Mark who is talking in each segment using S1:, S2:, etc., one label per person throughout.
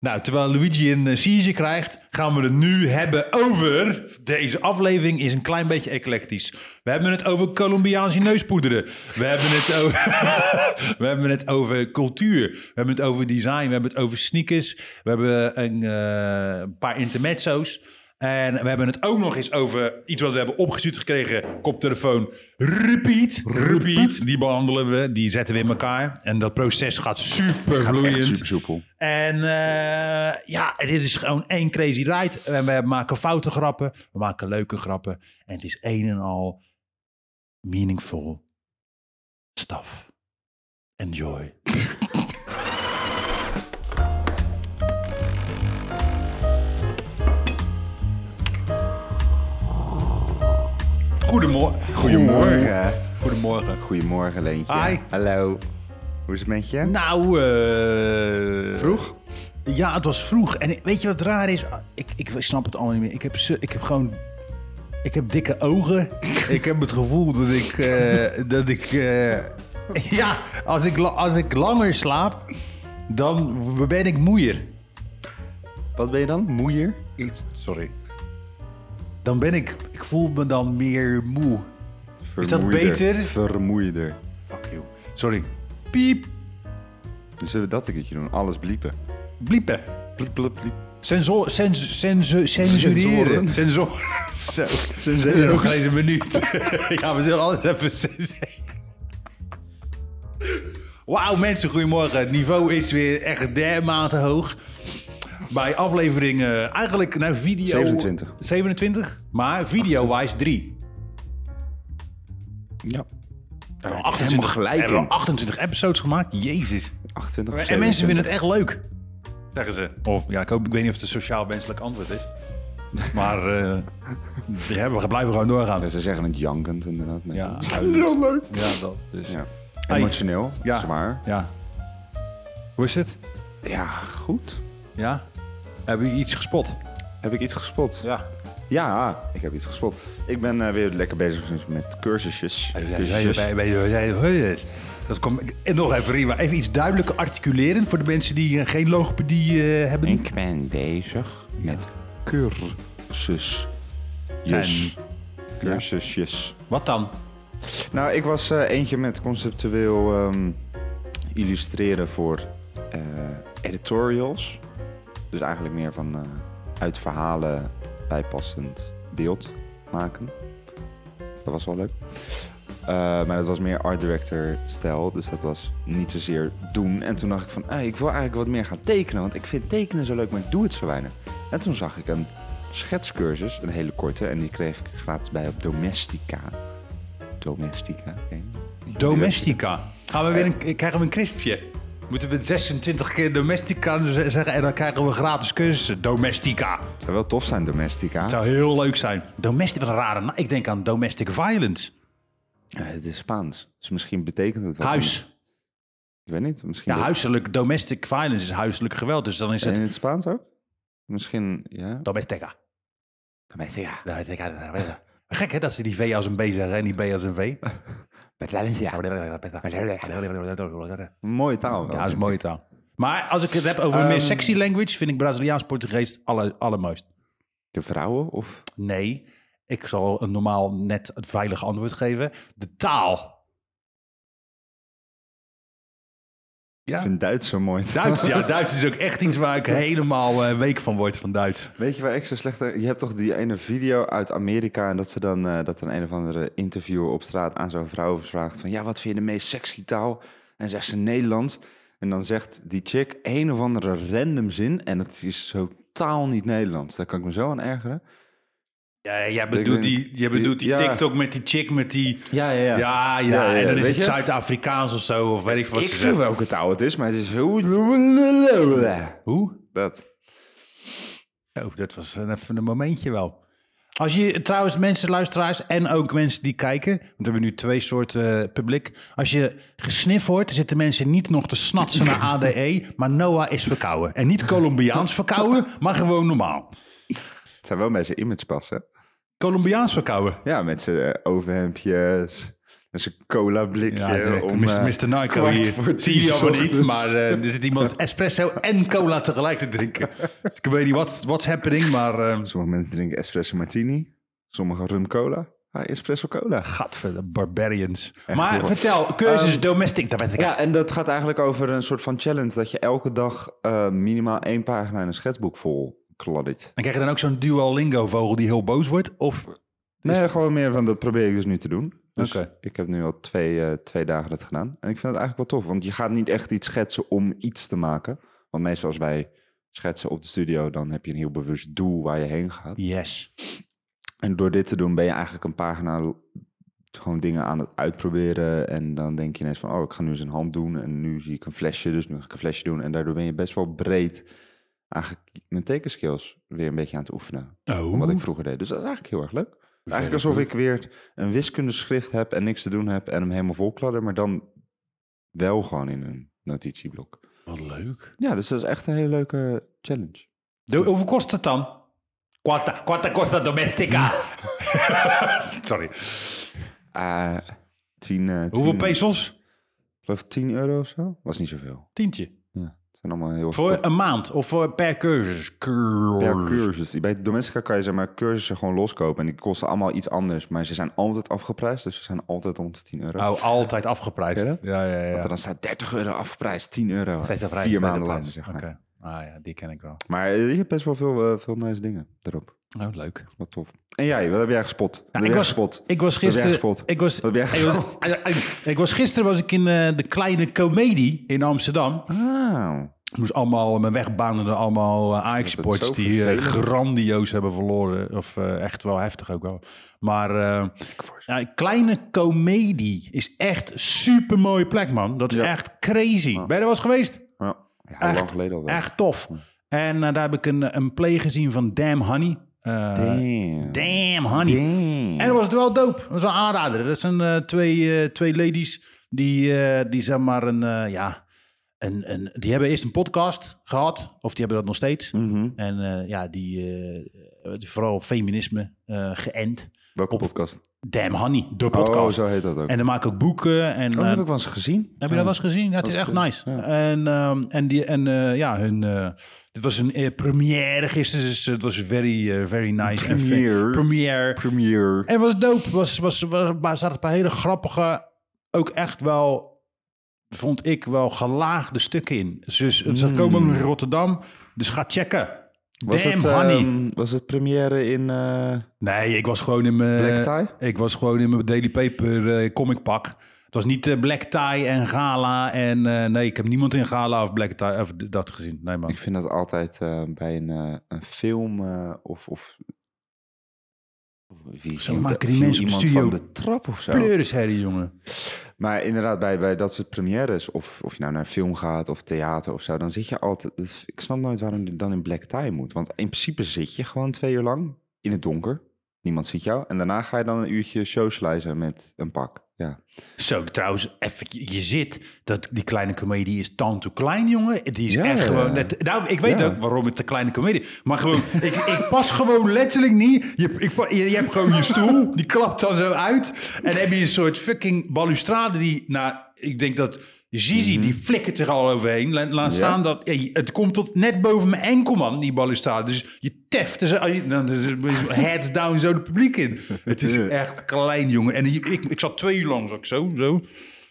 S1: Nou, terwijl Luigi een eh, seizure krijgt, gaan we het nu hebben over... Deze aflevering is een klein beetje eclectisch. We hebben het over Colombiaanse neuspoederen. We hebben het over, we hebben het over cultuur. We hebben het over design. We hebben het over sneakers. We hebben een, eh, een paar intermezzo's. En we hebben het ook nog eens over iets wat we hebben opgestuurd gekregen. Koptelefoon. Repeat. Repeat. Die behandelen we. Die zetten we in elkaar. En dat proces gaat super vloeiend.
S2: Echt super soepel.
S1: En eh, ja, dit is gewoon één crazy ride. En we maken foute grappen, we maken leuke grappen. En het is een en al meaningful stuff. Enjoy. Goedemorgen.
S2: Goedemorgen.
S1: Goedemorgen.
S2: Goedemorgen, Leentje.
S1: Hi.
S2: Hallo. Hoe is het met je?
S1: Nou, eh
S2: Vroeg?
S1: Ja, het was vroeg. En ik- weet je wat raar is? Ah, Ik, ik snap het allemaal niet meer. Ik heb, ze- ik heb gewoon... Ik heb dikke ogen. ik heb het gevoel dat ik... eh, dat ik eh, ja, als ik, la- als ik langer slaap, dan w- ben ik moeier.
S2: Wat ben je dan? Moeier?
S1: Iets, sorry. Dan ben ik... Ik voel me dan meer moe. Is dat
S2: Vermoeider.
S1: beter?
S2: Vermoeider.
S1: Fuck you. Sorry. Piep.
S2: Dan zullen we dat een keertje doen. Alles bliepen.
S1: Bliepen.
S2: Bliep, bliep, bliep.
S1: Sensor, sens, sensu- censureren.
S2: Sensoren.
S1: Sensoren. Zo.
S2: Senseren.
S1: Dit is nog geen eens een minuut. ja, we zullen alles even senseren. Wauw, mensen, goedemorgen. Het niveau is weer echt dermate hoog. Bij aflevering, eh, eigenlijk naar video...
S2: 27.
S1: 27, maar video-wise 3.
S2: Ja.
S1: Hebben we
S2: helemaal gelijk
S1: Hebben we
S2: in.
S1: 28 episodes gemaakt? Jezus.
S2: 28 of
S1: En mensen
S2: 27.
S1: vinden het echt leuk. Zeggen ze. Of ja, ik, hoop, ik weet niet of het een sociaal wenselijk antwoord is. Maar eh, ja, we blijven gewoon doorgaan.
S2: Ja, ze zeggen het jankend inderdaad. Nee.
S1: Ja,
S2: heel leuk.
S1: Ja, dat. Dus.
S2: Ja.
S1: Hey.
S2: Emotioneel,
S1: Ja.
S2: zwaar.
S1: Ja. Hoe is het?
S2: Ja, goed.
S1: Ja? Heb je iets gespot?
S2: Heb ik iets gespot?
S1: Ja.
S2: Ja, ik heb iets gespot. Ik ben eh, weer lekker bezig met cursusjes.
S1: Oh,
S2: Cursusjes.
S1: Dat komt, en nog even, Rima, even iets duidelijker articuleren voor de mensen die eh, geen logopedie eh, hebben.
S2: Ik ben bezig met cursus.
S1: Yes.
S2: Cursusjes.
S1: Wat dan?
S2: Nou, ik was eh, eentje met conceptueel ehm, illustreren voor eh, editorials. Dus eigenlijk meer van eh, uit verhalen bijpassend beeld maken. Dat was wel leuk. Eh, maar dat was meer art director stijl, dus dat was niet zozeer doen. En toen dacht ik van, ah, ik wil eigenlijk wat meer gaan tekenen, want ik vind tekenen zo leuk, maar ik doe het zo weinig. En toen zag ik een schetscursus, een hele korte, en die kreeg ik gratis bij op Domestica. Domestica, oké.
S1: Domestica. Gaan we weer een, krijgen we een crispje? Moeten we het 26 keer domestica z- zeggen en dan krijgen we gratis cursussen. Domestica.
S2: Het zou wel tof zijn, Domestica.
S1: Het zou heel leuk zijn. Domestic, wat een rare naam. Ik denk aan domestic violence.
S2: Ja, Eh, het is Spaans, dus misschien betekent het wel.
S1: Huis.
S2: Ik weet niet, misschien...
S1: Ja, huiselijk, domestic violence is huiselijk geweld. Dus dan is
S2: En
S1: het
S2: in het Spaans ook? Misschien, ja.
S1: domestica.
S2: Domestica.
S1: Domestica, domestica. Gek hè, dat ze die V als een B zeggen en die B als een V.
S2: Valencia.
S1: Ja,
S2: Mooie taal wel.
S1: dat is een mooie taal. Maar als ik het heb over meer sexy language, vind ik Braziliaans-Portugees het alle, allermooist.
S2: De vrouwen of...
S1: Nee, ik zal een normaal net het veilige antwoord geven. De taal. Ja.
S2: Ik vind Duits zo mooi.
S1: Duits, ja, Duits is ook echt iets waar ik helemaal eh, week van word van Duits.
S2: Weet je waar ik zo slecht... Je hebt toch die ene video uit Amerika... en dat ze dan eh, dat een, een of andere interviewer op straat aan zo'n vrouw vraagt... van ja, wat vind je de meest sexy taal? En zegt ze Nederlands. En dan zegt die chick een of andere random zin... en het is totaal niet Nederlands. Daar kan ik me zo aan ergeren.
S1: Ja, jij
S2: denk-
S1: bedoelt die, jij bedoelt die
S2: Ja.
S1: TikTok met die chick met die...
S2: Ja, ja, ja.
S1: Ja, ja,
S2: Ja, ja,
S1: en dan is
S2: weet
S1: het
S2: je?
S1: Zuid-Afrikaans of zo, of weet ik wat
S2: ik
S1: ze
S2: voel
S1: zeggen.
S2: welke taal het is, maar het is... heel-
S1: Hoe?
S2: Dat.
S1: Oh, dat was een- even een momentje wel. Als je trouwens mensen, luisteraars en ook mensen die kijken, want we hebben nu twee soorten eh, publiek. Als je gesniff hoort, zitten mensen niet nog te snatsen naar ADE, maar Noah is verkouden. En niet Colombiaans verkouden, maar gewoon normaal.
S2: Het zou wel bij zijn image passen.
S1: Colombiaans verkouden.
S2: Ja, met zijn eh, overhemdjes, Met zijn cola blikje.
S1: Ja, het is echt
S2: om,
S1: Mr.
S2: eh,
S1: Mr. Nico
S2: kwart
S1: hier.
S2: voor
S1: Zie
S2: tien
S1: je allemaal niet,
S2: ochtends.
S1: maar eh, er zit iemand espresso en cola tegelijk te drinken. Dus ik weet niet wat what's happening, maar... eh,
S2: Sommige mensen drinken espresso martini. Sommigen rum cola. Ah, espresso cola.
S1: Gadver, de barbarians.
S2: Echt, Ehm,
S1: maar
S2: joh.
S1: vertel, cursus domestic, daar ben ik
S2: Ja, en dat gaat eigenlijk over een soort van challenge. Dat je elke dag eh, minimaal één pagina in een schetsboek vol kladdit.
S1: En krijg je dan ook zo'n Duolingo-vogel die heel boos wordt? Of
S2: Nee,
S1: het-
S2: gewoon meer van dat probeer ik dus nu te doen. Dus
S1: Oké.
S2: ik heb nu al twee, eh, twee dagen dat gedaan. En ik vind het eigenlijk wel tof. Want je gaat niet echt iets schetsen om iets te maken. Want meestal als wij schetsen op de studio, dan heb je een heel bewust doel waar je heen gaat.
S1: yes.
S2: En door dit te doen ben je eigenlijk een pagina l- gewoon dingen aan het uitproberen. En dan denk je ineens van, oh, ik ga nu eens een hand doen. En nu zie ik een flesje, dus nu ga ik een flesje doen. En daardoor ben je best wel breed eigenlijk mijn tekenskills weer een beetje aan het oefenen.
S1: Oh,
S2: Van Wat ik vroeger deed. Dus dat is eigenlijk heel erg leuk. Eigenlijk
S1: Very
S2: alsof ik weer een wiskundeschrift heb en niks te doen heb en hem helemaal volkladder. Maar dan wel gewoon in een notitieblok.
S1: wat leuk.
S2: Ja, dus dat is echt een hele leuke challenge.
S1: De- hoeveel kost het dan? Quanta, quanta costa domestica? Sorry.
S2: Eh tien, eh,
S1: Hoeveel
S2: tien-
S1: pesos?
S2: Ik geloof 10 euro of zo. Was niet zoveel.
S1: Tientje.
S2: Ja, het zijn allemaal heel
S1: Voor een maand of voor per cursus? Cursus.
S2: per cursus. Bij Domestica kan je zeg maar cursussen gewoon loskopen. En die kosten allemaal iets anders. Maar ze zijn altijd afgeprijsd. Dus ze zijn altijd rond de 10 euro.
S1: Oh, altijd afgeprijsd.
S2: Ja?
S1: Ja, ja, ja.
S2: Dat er dan staat 30 euro afgeprijsd, 10 euro.
S1: Zekerheid,
S2: Vier maanden
S1: zekerheid.
S2: later, zeg maar.
S1: Oké. Ah ja, die ken ik wel.
S2: Maar eh, je hebt best wel veel, eh, veel nice dingen erop.
S1: Oh, leuk.
S2: Wat tof. En jij, wat heb jij gespot? Wat heb
S1: Nou, ik
S2: jij
S1: was-
S2: gespot?
S1: Ik was
S2: heb jij
S1: gisteren.
S2: gespot?
S1: Ik was,
S2: Wat heb jij
S1: ik was, ik was gisteren was ik in eh, de kleine comedie in Amsterdam.
S2: Ah,
S1: Ik moest allemaal mijn wegbanen allemaal eh, Ajax-sports
S2: zo
S1: die eh,
S2: vervelend.
S1: grandioos hebben verloren. Of eh, echt wel heftig ook wel. Maar eh,
S2: voor
S1: ja, kleine comedie is echt super mooie plek, man. Dat is
S2: Ja.
S1: echt crazy. Ben je er wel eens geweest?
S2: ja, ja, heel lang
S1: Echt,
S2: geleden al wel.
S1: Echt tof. En eh, daar heb ik een, een play gezien van Damn Honey. Eh,
S2: Damn.
S1: Damn Honey.
S2: Damn.
S1: En dat was het wel dope. Dat was een aanrader. Dat zijn eh, twee, eh, twee ladies die, eh, die zeg maar een, eh, ja, een, een, die hebben eerst een podcast gehad. Of die hebben dat nog steeds.
S2: Mhm.
S1: En eh, ja, die eh, eh, vooral op feminisme eh, geënt.
S2: Welke podcast?
S1: Damn Honey, de podcast.
S2: Oh, zo heet dat ook.
S1: en dan maken ook boeken. En,
S2: Oh, dat
S1: eh,
S2: heb ik wel eens gezien.
S1: heb je dat wel eens gezien? Ja, het is
S2: Dat is
S1: echt
S2: goed,
S1: nice.
S2: ja.
S1: En, ehm, en, die, en eh, ja, hun, eh, dit was een eh, première gisteren, dus eh, het was very, eh, very nice. en fe-
S2: Premiere.
S1: premiere.
S2: Premier.
S1: En was dope. Was, was, was, was, zaten een paar hele grappige, ook echt wel, vond ik wel gelaagde stukken in. Dus, dus ze komen ook nog in Rotterdam, dus ga checken.
S2: Hmm. Was
S1: Damn,
S2: het,
S1: honey.
S2: ehm, was het première in eh
S1: nee, ik was gewoon in mijn...
S2: Black Tie?
S1: Ik was gewoon in mijn Daily Paper eh comic pak. Het was niet eh, black tie en gala en... eh, nee, ik heb niemand in gala of black tie of d- dat gezien. Nee, man.
S2: Ik vind dat altijd eh, bij een, eh, een film eh, of... of wie
S1: Zo
S2: viel
S1: maken
S2: de-
S1: die
S2: viel
S1: mensen op de
S2: iemand
S1: studio
S2: van de trap of zo.
S1: Pleurisherrie, jongen.
S2: Maar inderdaad, bij, bij dat soort premières, of, of je nou naar film gaat of theater of zo, dan zit je altijd... dat- Ik snap nooit waarom je dan in black tie moet. Want in principe zit je gewoon twee uur lang in het donker. Niemand ziet jou. En daarna ga je dan een uurtje socializen met een pak. Ja.
S1: Zo, trouwens, even, je zit, dat, die kleine komedie is dan te klein, jongen. Die is
S2: Ja.
S1: echt gewoon, net, nou, ik weet
S2: Ja.
S1: ook waarom het de kleine komedie maar gewoon, ik, ik pas gewoon letterlijk niet. Je, ik, pa- je, je hebt gewoon je stoel, die klapt dan zo uit. En dan heb je een soort fucking balustrade die, nou, ik denk dat Zizi, die flikkert er al overheen. La- Laat
S2: Mhm. Ja.
S1: staan dat, ja, het komt tot net boven mijn enkel, man, die balustrade. Dus je teft er zo, als je- dan is het heads down zo het publiek in. Het is echt klein, jongen. En je- ik, ik zat twee uur lang, zat ik zo, zo.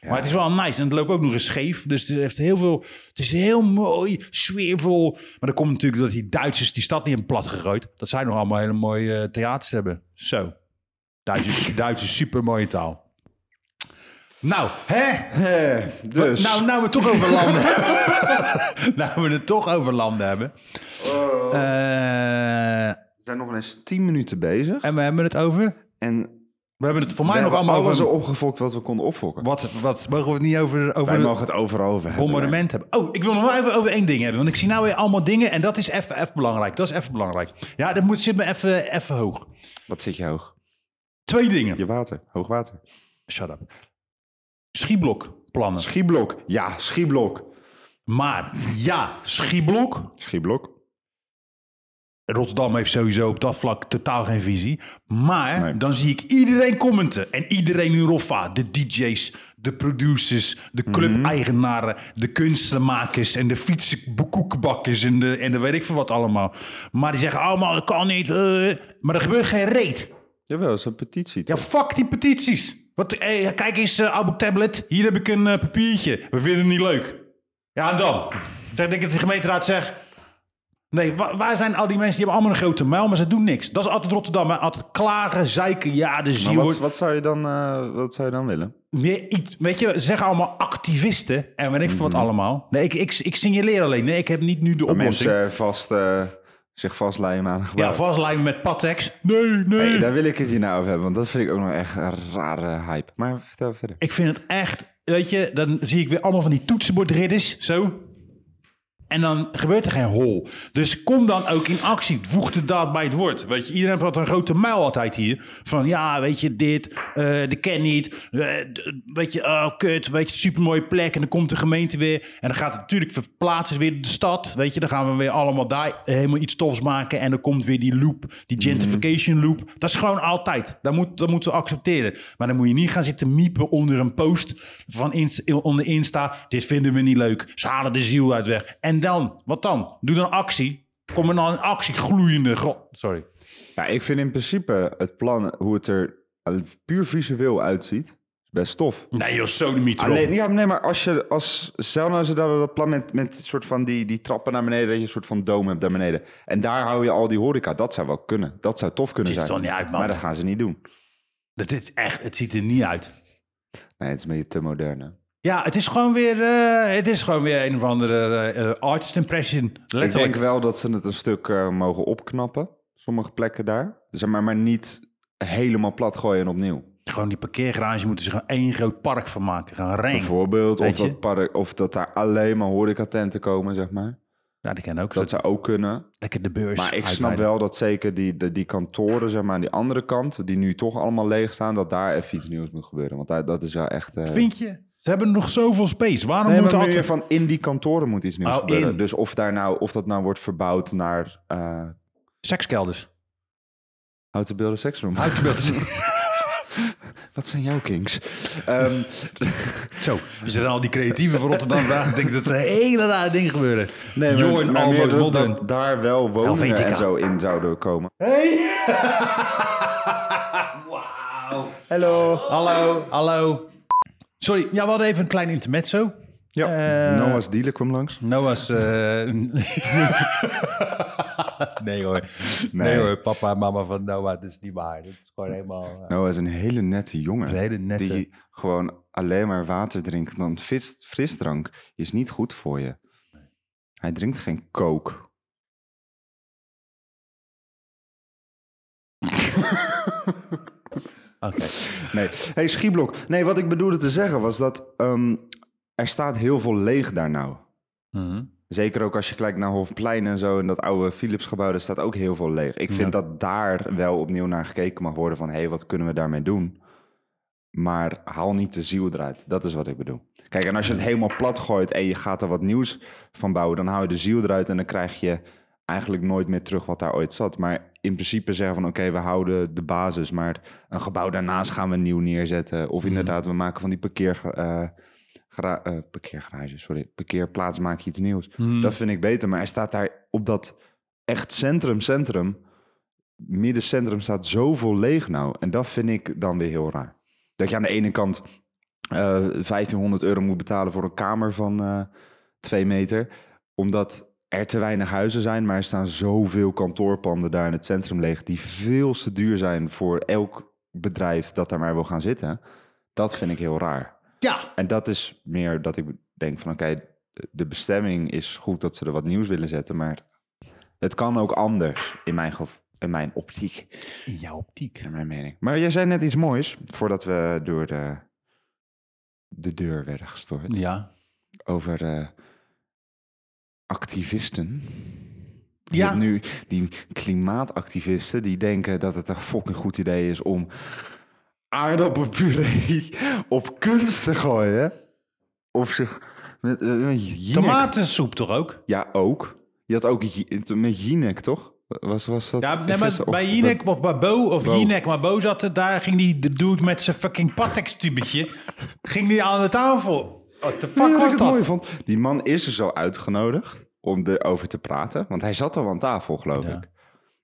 S1: Maar het is wel nice. En het loopt ook nog eens scheef. Dus het heeft heel veel... Het is heel mooi, sfeervol. Maar dat komt natuurlijk dat die Duitsers die stad niet hebben plat gegooid. Dat zij nog allemaal hele mooie eh, theaters hebben. Zo. Duitsers, Duitsers supermooie taal. Nou, hè?
S2: dus...
S1: Nou, nou we het toch over landen hebben. nou we het toch over landen hebben.
S2: nou-
S1: Eh,
S2: We zijn nog eens 10 minuten bezig.
S1: en we hebben het over...
S2: En
S1: We hebben het voor mij
S2: we
S1: nog
S2: hebben
S1: allemaal
S2: alles
S1: over...
S2: opgefokt wat we konden opfokken.
S1: Wat, wat mogen we het niet over... over
S2: Wij
S1: de-
S2: mogen het overal over hebben.
S1: bombardement hebben. Oh, ik wil nog wel even over één ding hebben. Want ik zie nou weer allemaal dingen en dat is even, even belangrijk. Dat is even belangrijk. Ja, dat moet, zit me even, even hoog.
S2: Wat zit je hoog?
S1: Twee dingen.
S2: Je water, hoogwater.
S1: Shut up. Schieblokplannen.
S2: Schieblok. Ja, schieblok.
S1: Maar ja, schieblok
S2: Schieblok.
S1: Rotterdam heeft sowieso op dat vlak totaal geen visie. Maar
S2: Nee.
S1: dan zie ik iedereen commenten. En iedereen in Roffa. De DJ's, de producers, de club-eigenaren, de kunstenmakers en de fietsenkoekenbakkers en de, en de weet ik veel wat allemaal. Maar die zeggen allemaal, dat kan niet. eh." Maar er gebeurt geen reet.
S2: Jawel, dat is een petitie.
S1: Ja,
S2: toch?
S1: fuck die petities. Wat, eh, kijk eens, eh Abu Tablet, hier heb ik een eh, papiertje. We vinden het niet leuk. Ja, en dan? Zeg, denk ik dat de gemeenteraad zegt... Nee, wa- waar zijn al die mensen? Die hebben allemaal een grote muil, maar ze doen niks. Dat is altijd Rotterdam, hè? altijd klagen, zeiken. Ja, de ziel
S2: Maar wat,
S1: wordt
S2: wat, zou je dan, eh, wat zou je dan willen?
S1: meer iets. Weet je, ze zeggen allemaal activisten en weet ik veel
S2: Mhm.
S1: wat allemaal. Nee, ik, ik, ik signaleer alleen. Nee, ik heb niet nu de oplossing.
S2: Mensen vast, eh, zich vastlijmen aan een gebouw.
S1: ja, vastlijmen met Patex. Nee, nee.
S2: Hey, daar wil ik het hier nou over hebben, want dat vind ik ook nog echt een rare hype. Maar vertel verder.
S1: Ik vind het echt, weet je, dan zie ik weer allemaal van die toetsenbordridders, zo. En dan gebeurt er geen hol. Dus kom dan ook in actie. Voeg de daad bij het woord. Weet je, iedereen had een grote muil altijd hier. Van ja, weet je, dit, eh de ken niet. eh, d- weet je, oh kut, weet je, supermooie plek. En dan komt de gemeente weer. En dan gaat het natuurlijk verplaatsen weer de stad. Weet je, dan gaan we weer allemaal daar eh, helemaal iets tofs maken. En dan komt weer die loop, die gentrification loop. Dat is gewoon altijd. Dat, moet, dat moeten we accepteren. Maar dan moet je niet gaan zitten miepen onder een post van Inst- onder Insta. Dit vinden we niet leuk. Ze halen de ziel uit weg. En dan, wat dan? Doe dan actie. Kom er dan een actie gloeiende. go- Sorry.
S2: Ja, ik vind in principe het plan, hoe het er puur visueel uitziet, best tof.
S1: Nee joh, zo de
S2: Alleen, ja, nee, maar als je, als, stel nou ze hadden dat plan met, met soort van die, die trappen naar beneden, dat je een soort van dome hebt daar beneden. En daar hou je al die horeca, dat zou wel kunnen. Dat zou tof kunnen
S1: Ziet er
S2: zijn.
S1: toch niet uit, man.
S2: Maar dat gaan ze niet doen.
S1: Dat is echt, het ziet er niet uit.
S2: Nee, het is een beetje te modern. hè.
S1: Ja, het is gewoon weer, eh, het is gewoon weer een of andere eh, eh, artist impression.
S2: Ik
S1: Letterlijk.
S2: denk wel dat ze het een stuk eh, mogen opknappen, sommige plekken daar. Zeg maar, maar niet helemaal plat gooien en opnieuw.
S1: Gewoon die parkeergarage moeten ze gewoon één groot park van maken. Gewoon reng.
S2: Bijvoorbeeld, of
S1: Weet je?
S2: dat, park, of dat daar alleen maar horecatenten komen, zeg maar.
S1: Ja, die kennen ook.
S2: Dat zou ook kunnen.
S1: Lekker de beurs.
S2: Maar ik snap
S1: uitbreiden.
S2: wel dat zeker die, de- die kantoren, zeg maar, aan die andere kant, die nu toch allemaal leeg staan, dat daar even iets nieuws moet gebeuren. Want daar, dat is wel echt. eh,
S1: Vind je? Ze hebben nog zoveel space. Waarom
S2: Nee,
S1: moet
S2: maar meer
S1: altijd...
S2: van in die kantoren moet iets nieuws
S1: Oh,
S2: gebeuren.
S1: in.
S2: Dus of, daar nou, of dat nou wordt verbouwd naar eh
S1: Sekskelders.
S2: houten beelden seksroom. Wat zijn jouw kinks? Ehm,
S1: Zo, als je dan al die creatieven van Rotterdam vraagt, denk ik dat er hele rare dingen gebeuren.
S2: nee, maar-
S1: Jorn,
S2: maar
S1: Almost
S2: meer dat-
S1: Modern.
S2: dat daar wel woningen
S1: Helvetica.
S2: en zo in zouden komen.
S1: Hey! Wauw.
S2: Hallo.
S1: Hallo, hallo. Sorry, ja, we hadden even een klein intermezzo.
S2: Ja,
S1: Eh,
S2: Noah's dealer kwam langs.
S1: Noah's... eh, nee hoor. Nee.
S2: Nee.
S1: hoor, papa en mama van Noah, dat is niet waar. Dat is gewoon helemaal... eh,
S2: Noah is een hele nette jongen.
S1: Een hele nette.
S2: Die gewoon alleen maar water drinkt. Dan fris, frisdrank is niet goed voor je. Hij drinkt geen coke.
S1: Oké.
S2: Nee. Hey, Schieblok. Nee, wat ik bedoelde te zeggen was dat ehm, er staat heel veel leeg daar nou.
S1: Mhm.
S2: Zeker ook als je kijkt naar Hofplein en zo en dat oude Philipsgebouw, daar staat ook heel veel leeg. Ik vind dat daar wel opnieuw naar gekeken mag worden van, hé, hey, wat kunnen we daarmee doen? Maar haal niet de ziel eruit. Dat is wat ik bedoel. Kijk, en als je het helemaal plat gooit en je gaat er wat nieuws van bouwen, dan haal je de ziel eruit en dan krijg je eigenlijk nooit meer terug wat daar ooit zat. Maar in principe zeggen van, oké, we houden de basis, maar een gebouw daarnaast gaan we nieuw neerzetten. Of inderdaad, we maken van die parkeer... eh, Gra- eh, parkeergarage, sorry. Parkeerplaats maak je iets nieuws.
S1: Mm.
S2: Dat vind ik beter. Maar hij staat daar op dat echt centrum, centrum. Middencentrum staat zoveel leeg nou. En dat vind ik dan weer heel raar. Dat je aan de ene kant eh 1500 euro moet betalen voor een kamer van eh twee meter. Omdat er te weinig huizen zijn. Maar er staan zoveel kantoorpanden daar in het centrum leeg. Die veel te duur zijn voor elk bedrijf dat daar maar wil gaan zitten. Dat vind ik heel raar.
S1: Ja,
S2: En dat is meer dat ik denk van oké, de bestemming is goed dat ze er wat nieuws willen zetten, maar het kan ook anders in mijn, gev- in mijn optiek,
S1: in jouw optiek.
S2: naar mijn mening. Maar jij zei net iets moois voordat we door de, de deur werden gestoord
S1: Ja.
S2: over eh, activisten. Je
S1: Ja.
S2: hebt nu die klimaatactivisten die denken dat het een fucking goed idee is om aardappelpuree op kunst te gooien. Of zich met, eh, met Jinek.
S1: Tomatensoep toch ook?
S2: Ja, ook. Je had ook Ji- met Jinek, toch? Was, was dat...
S1: Ja, nee,
S2: ik
S1: maar
S2: wist- of-
S1: bij Jinek of bij Bo of
S2: Bo.
S1: Jinek, maar Bo zat er, daar ging die de dude met zijn fucking Patex-tubetje, ging die aan de tafel. What the
S2: Nee,
S1: fuck
S2: wat
S1: was
S2: ik
S1: dat?
S2: mooi vond. Die man is er zo uitgenodigd om erover te praten. Want hij zat al aan tafel, geloof
S1: Ja.
S2: ik.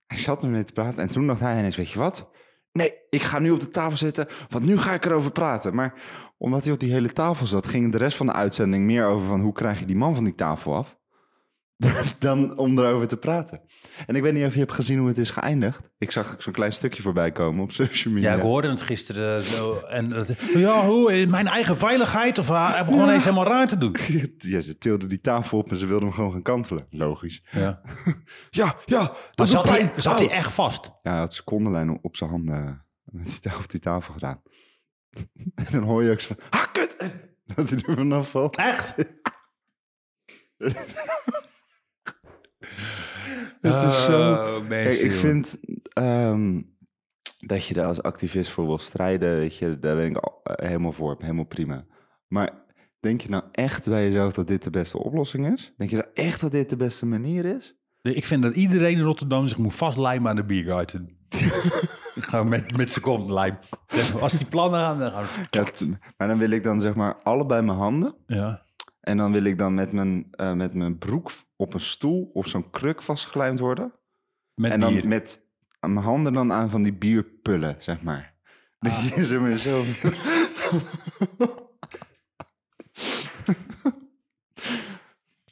S2: Hij zat ermee te praten en toen dacht hij ineens, weet je wat? Nee, ik ga nu op de tafel zitten, want nu ga ik erover praten. Maar omdat hij op die hele tafel zat, ging de rest van de uitzending meer over van hoe krijg je die man van die tafel af? Dan om erover te praten. En ik weet niet of je hebt gezien hoe het is geëindigd. Ik zag zo'n klein stukje voorbij komen op social media.
S1: Ja, ik hoorde het gisteren eh, zo. En dat, ja, hoe, eh, mijn eigen veiligheid of haar, hij begon eens helemaal raar te doen.
S2: Ja, ze tilde die tafel op en ze wilde hem gewoon gaan kantelen. Logisch.
S1: Ja.
S2: Ja, ja, dat
S1: Maar
S2: doet
S1: zat
S2: pijn.
S1: hij, zat
S2: Au.
S1: hij echt vast?
S2: Ja, hij had secondenlijn op- op zijn handen eh, met die tafel, op die tafel gedaan. en dan hoor je ook zo van, ah, kut! Dat hij er vanaf valt.
S1: Echt?
S2: Het is zo... Kijk,
S1: Oh, mensen,
S2: ik vind ehm, dat je daar als activist voor wil strijden, weet je, daar ben ik al- eh, helemaal voor, helemaal prima. Maar denk je nou echt bij jezelf dat dit de beste oplossing is? Denk je nou echt dat dit de beste manier is?
S1: Ik vind dat iedereen in Rotterdam zich moet vastlijmen aan de biergarten. Gewoon met, met secondenlijm. Als die plannen gaan, dan gaan we-
S2: Ja, t- maar dan wil ik dan zeg maar allebei mijn handen
S1: Ja.
S2: En dan wil ik dan met mijn, eh, met mijn broek op een stoel op zo'n kruk vastgelijmd worden.
S1: Met
S2: en dan
S1: bier.
S2: met mijn handen dan aan van die bierpullen, zeg maar.
S1: Ah.
S2: Dat je zo met zo...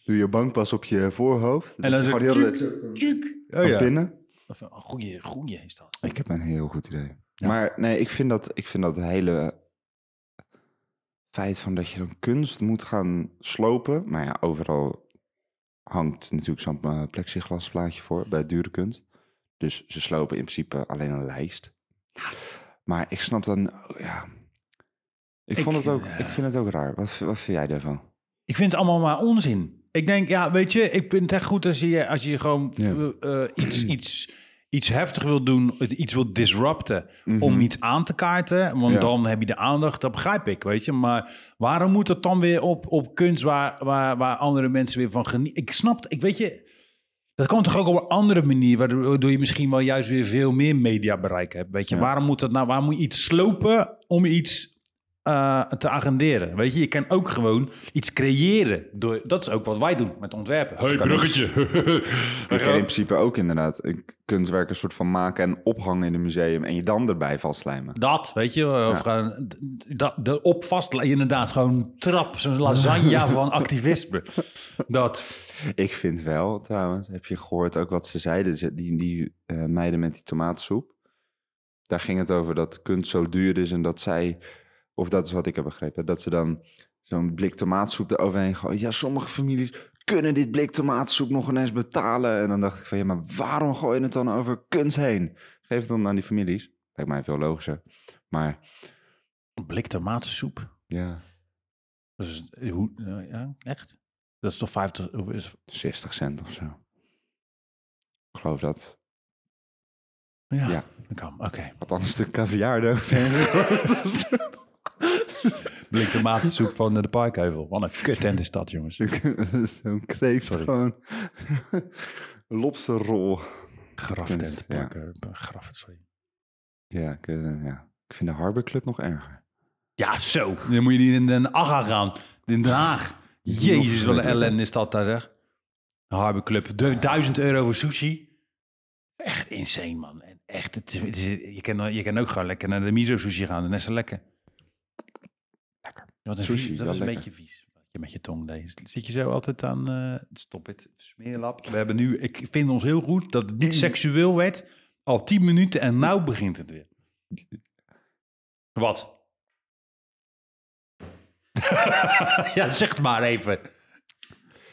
S2: Doe je bankpas op je voorhoofd.
S1: En dan
S2: Dat je
S1: zo
S2: gewoon heel de-
S1: Tjuk.
S2: van
S1: Oh ja.
S2: binnen.
S1: Of een goeie, goeie is dat.
S2: Ik heb een heel goed idee. Maar nee, ik vind, dat, ik vind dat hele feit van dat je dan kunst moet gaan slopen. Maar ja, overal hangt natuurlijk zo'n eh, plexiglasplaatje voor bij dure kunst. Dus ze slopen in principe alleen een lijst. Maar ik snap dan, oh ja. Ik,
S1: Ik,
S2: vond het ook,
S1: eh,
S2: ik vind het ook raar. Wat, wat vind jij daarvan?
S1: Ik vind het allemaal maar onzin. Ik denk, ja, weet je, ik vind het echt goed als je, als je gewoon
S2: Ja.
S1: eh, eh, iets, iets, iets heftig wil doen, het iets wil disrupten om iets aan te kaarten. Want
S2: Mhm. Ja.
S1: dan heb je de aandacht, dat begrijp ik, weet je. Maar waarom moet dat dan weer op, op kunst waar, waar, waar andere mensen weer van genieten? Ik snap, het, ik weet je, dat kan toch ook op een andere manier, waardoor je misschien wel juist weer veel meer mediabereik hebt. Weet je,
S2: Ja.
S1: waarom moet dat nou? Waarom moet je iets slopen om iets eh, te agenderen? Weet je, je kan ook gewoon iets creëren. Door, dat is ook wat wij doen met ontwerpen. Hey, bruggetje.
S2: Je
S1: Nou
S2: kan in principe ook inderdaad een kunstwerk een soort van maken en ophangen in een museum en je dan erbij vastlijmen.
S1: Dat, weet je, of gewoon d- dat, de op vast, inderdaad, gewoon een trap, zo'n lasagne van activisme. Dat,
S2: Ik vind wel, trouwens, heb je gehoord ook wat ze zeiden, ze- die, die eh, meiden met die tomatensoep. Daar ging het over dat kunst zo duur is en dat zij, of dat is wat ik heb begrepen, dat ze dan zo'n blik tomatensoep eroverheen gooien. Ja, sommige families kunnen dit blik tomatensoep nog ineens betalen. En dan dacht ik van, ja, maar waarom gooi je het dan over kunst heen? Geef het dan aan die families. Lijkt mij veel logischer. Maar
S1: een blik tomatensoep.
S2: ja,
S1: Dat is, hoe, eh, ja, echt? Dat is toch 50, hoe is-
S2: 60 cent of zo. Ik geloof dat.
S1: Ja,
S2: Ja.
S1: dat kan. Oké.
S2: Wat anders een stuk caviar eroverheen.
S1: Blik tomatensoep van eh, de Parkheuvel. Wat een kut tent is dat, jongens.
S2: Zo'n- Zo'n kreeft
S1: Sorry.
S2: gewoon. Lobsterrol.
S1: Graftent.
S2: Kunst, ja.
S1: Parkheuvel. Graf, sorry.
S2: Ja ik, eh, ja, ik vind de Harbor Club nog erger.
S1: Ja, zo. Dan moet je niet in Den Haag gaan. In Den Haag. Jezus, wat een
S2: verschrikkelijk, hè?
S1: ellende is dat daar, zeg. De Harbor Club. Du- 1000 euro voor sushi. Echt insane, man. En echt, het is- het is- je, kan, je kan ook gewoon lekker naar de miso-sushi gaan. Dat is net zo lekker.
S2: Lekker.
S1: Wat een
S2: Sushi,
S1: vies- dat
S2: wel
S1: is een
S2: lekker.
S1: beetje vies. Wat je met je tong deed. Zit je zo altijd aan... eh, stop het, smeerlap. We hebben nu... Ik vind ons heel goed dat het niet seksueel werd. Al 10 minuten en nou begint het weer. Wat? ja, zeg het maar even.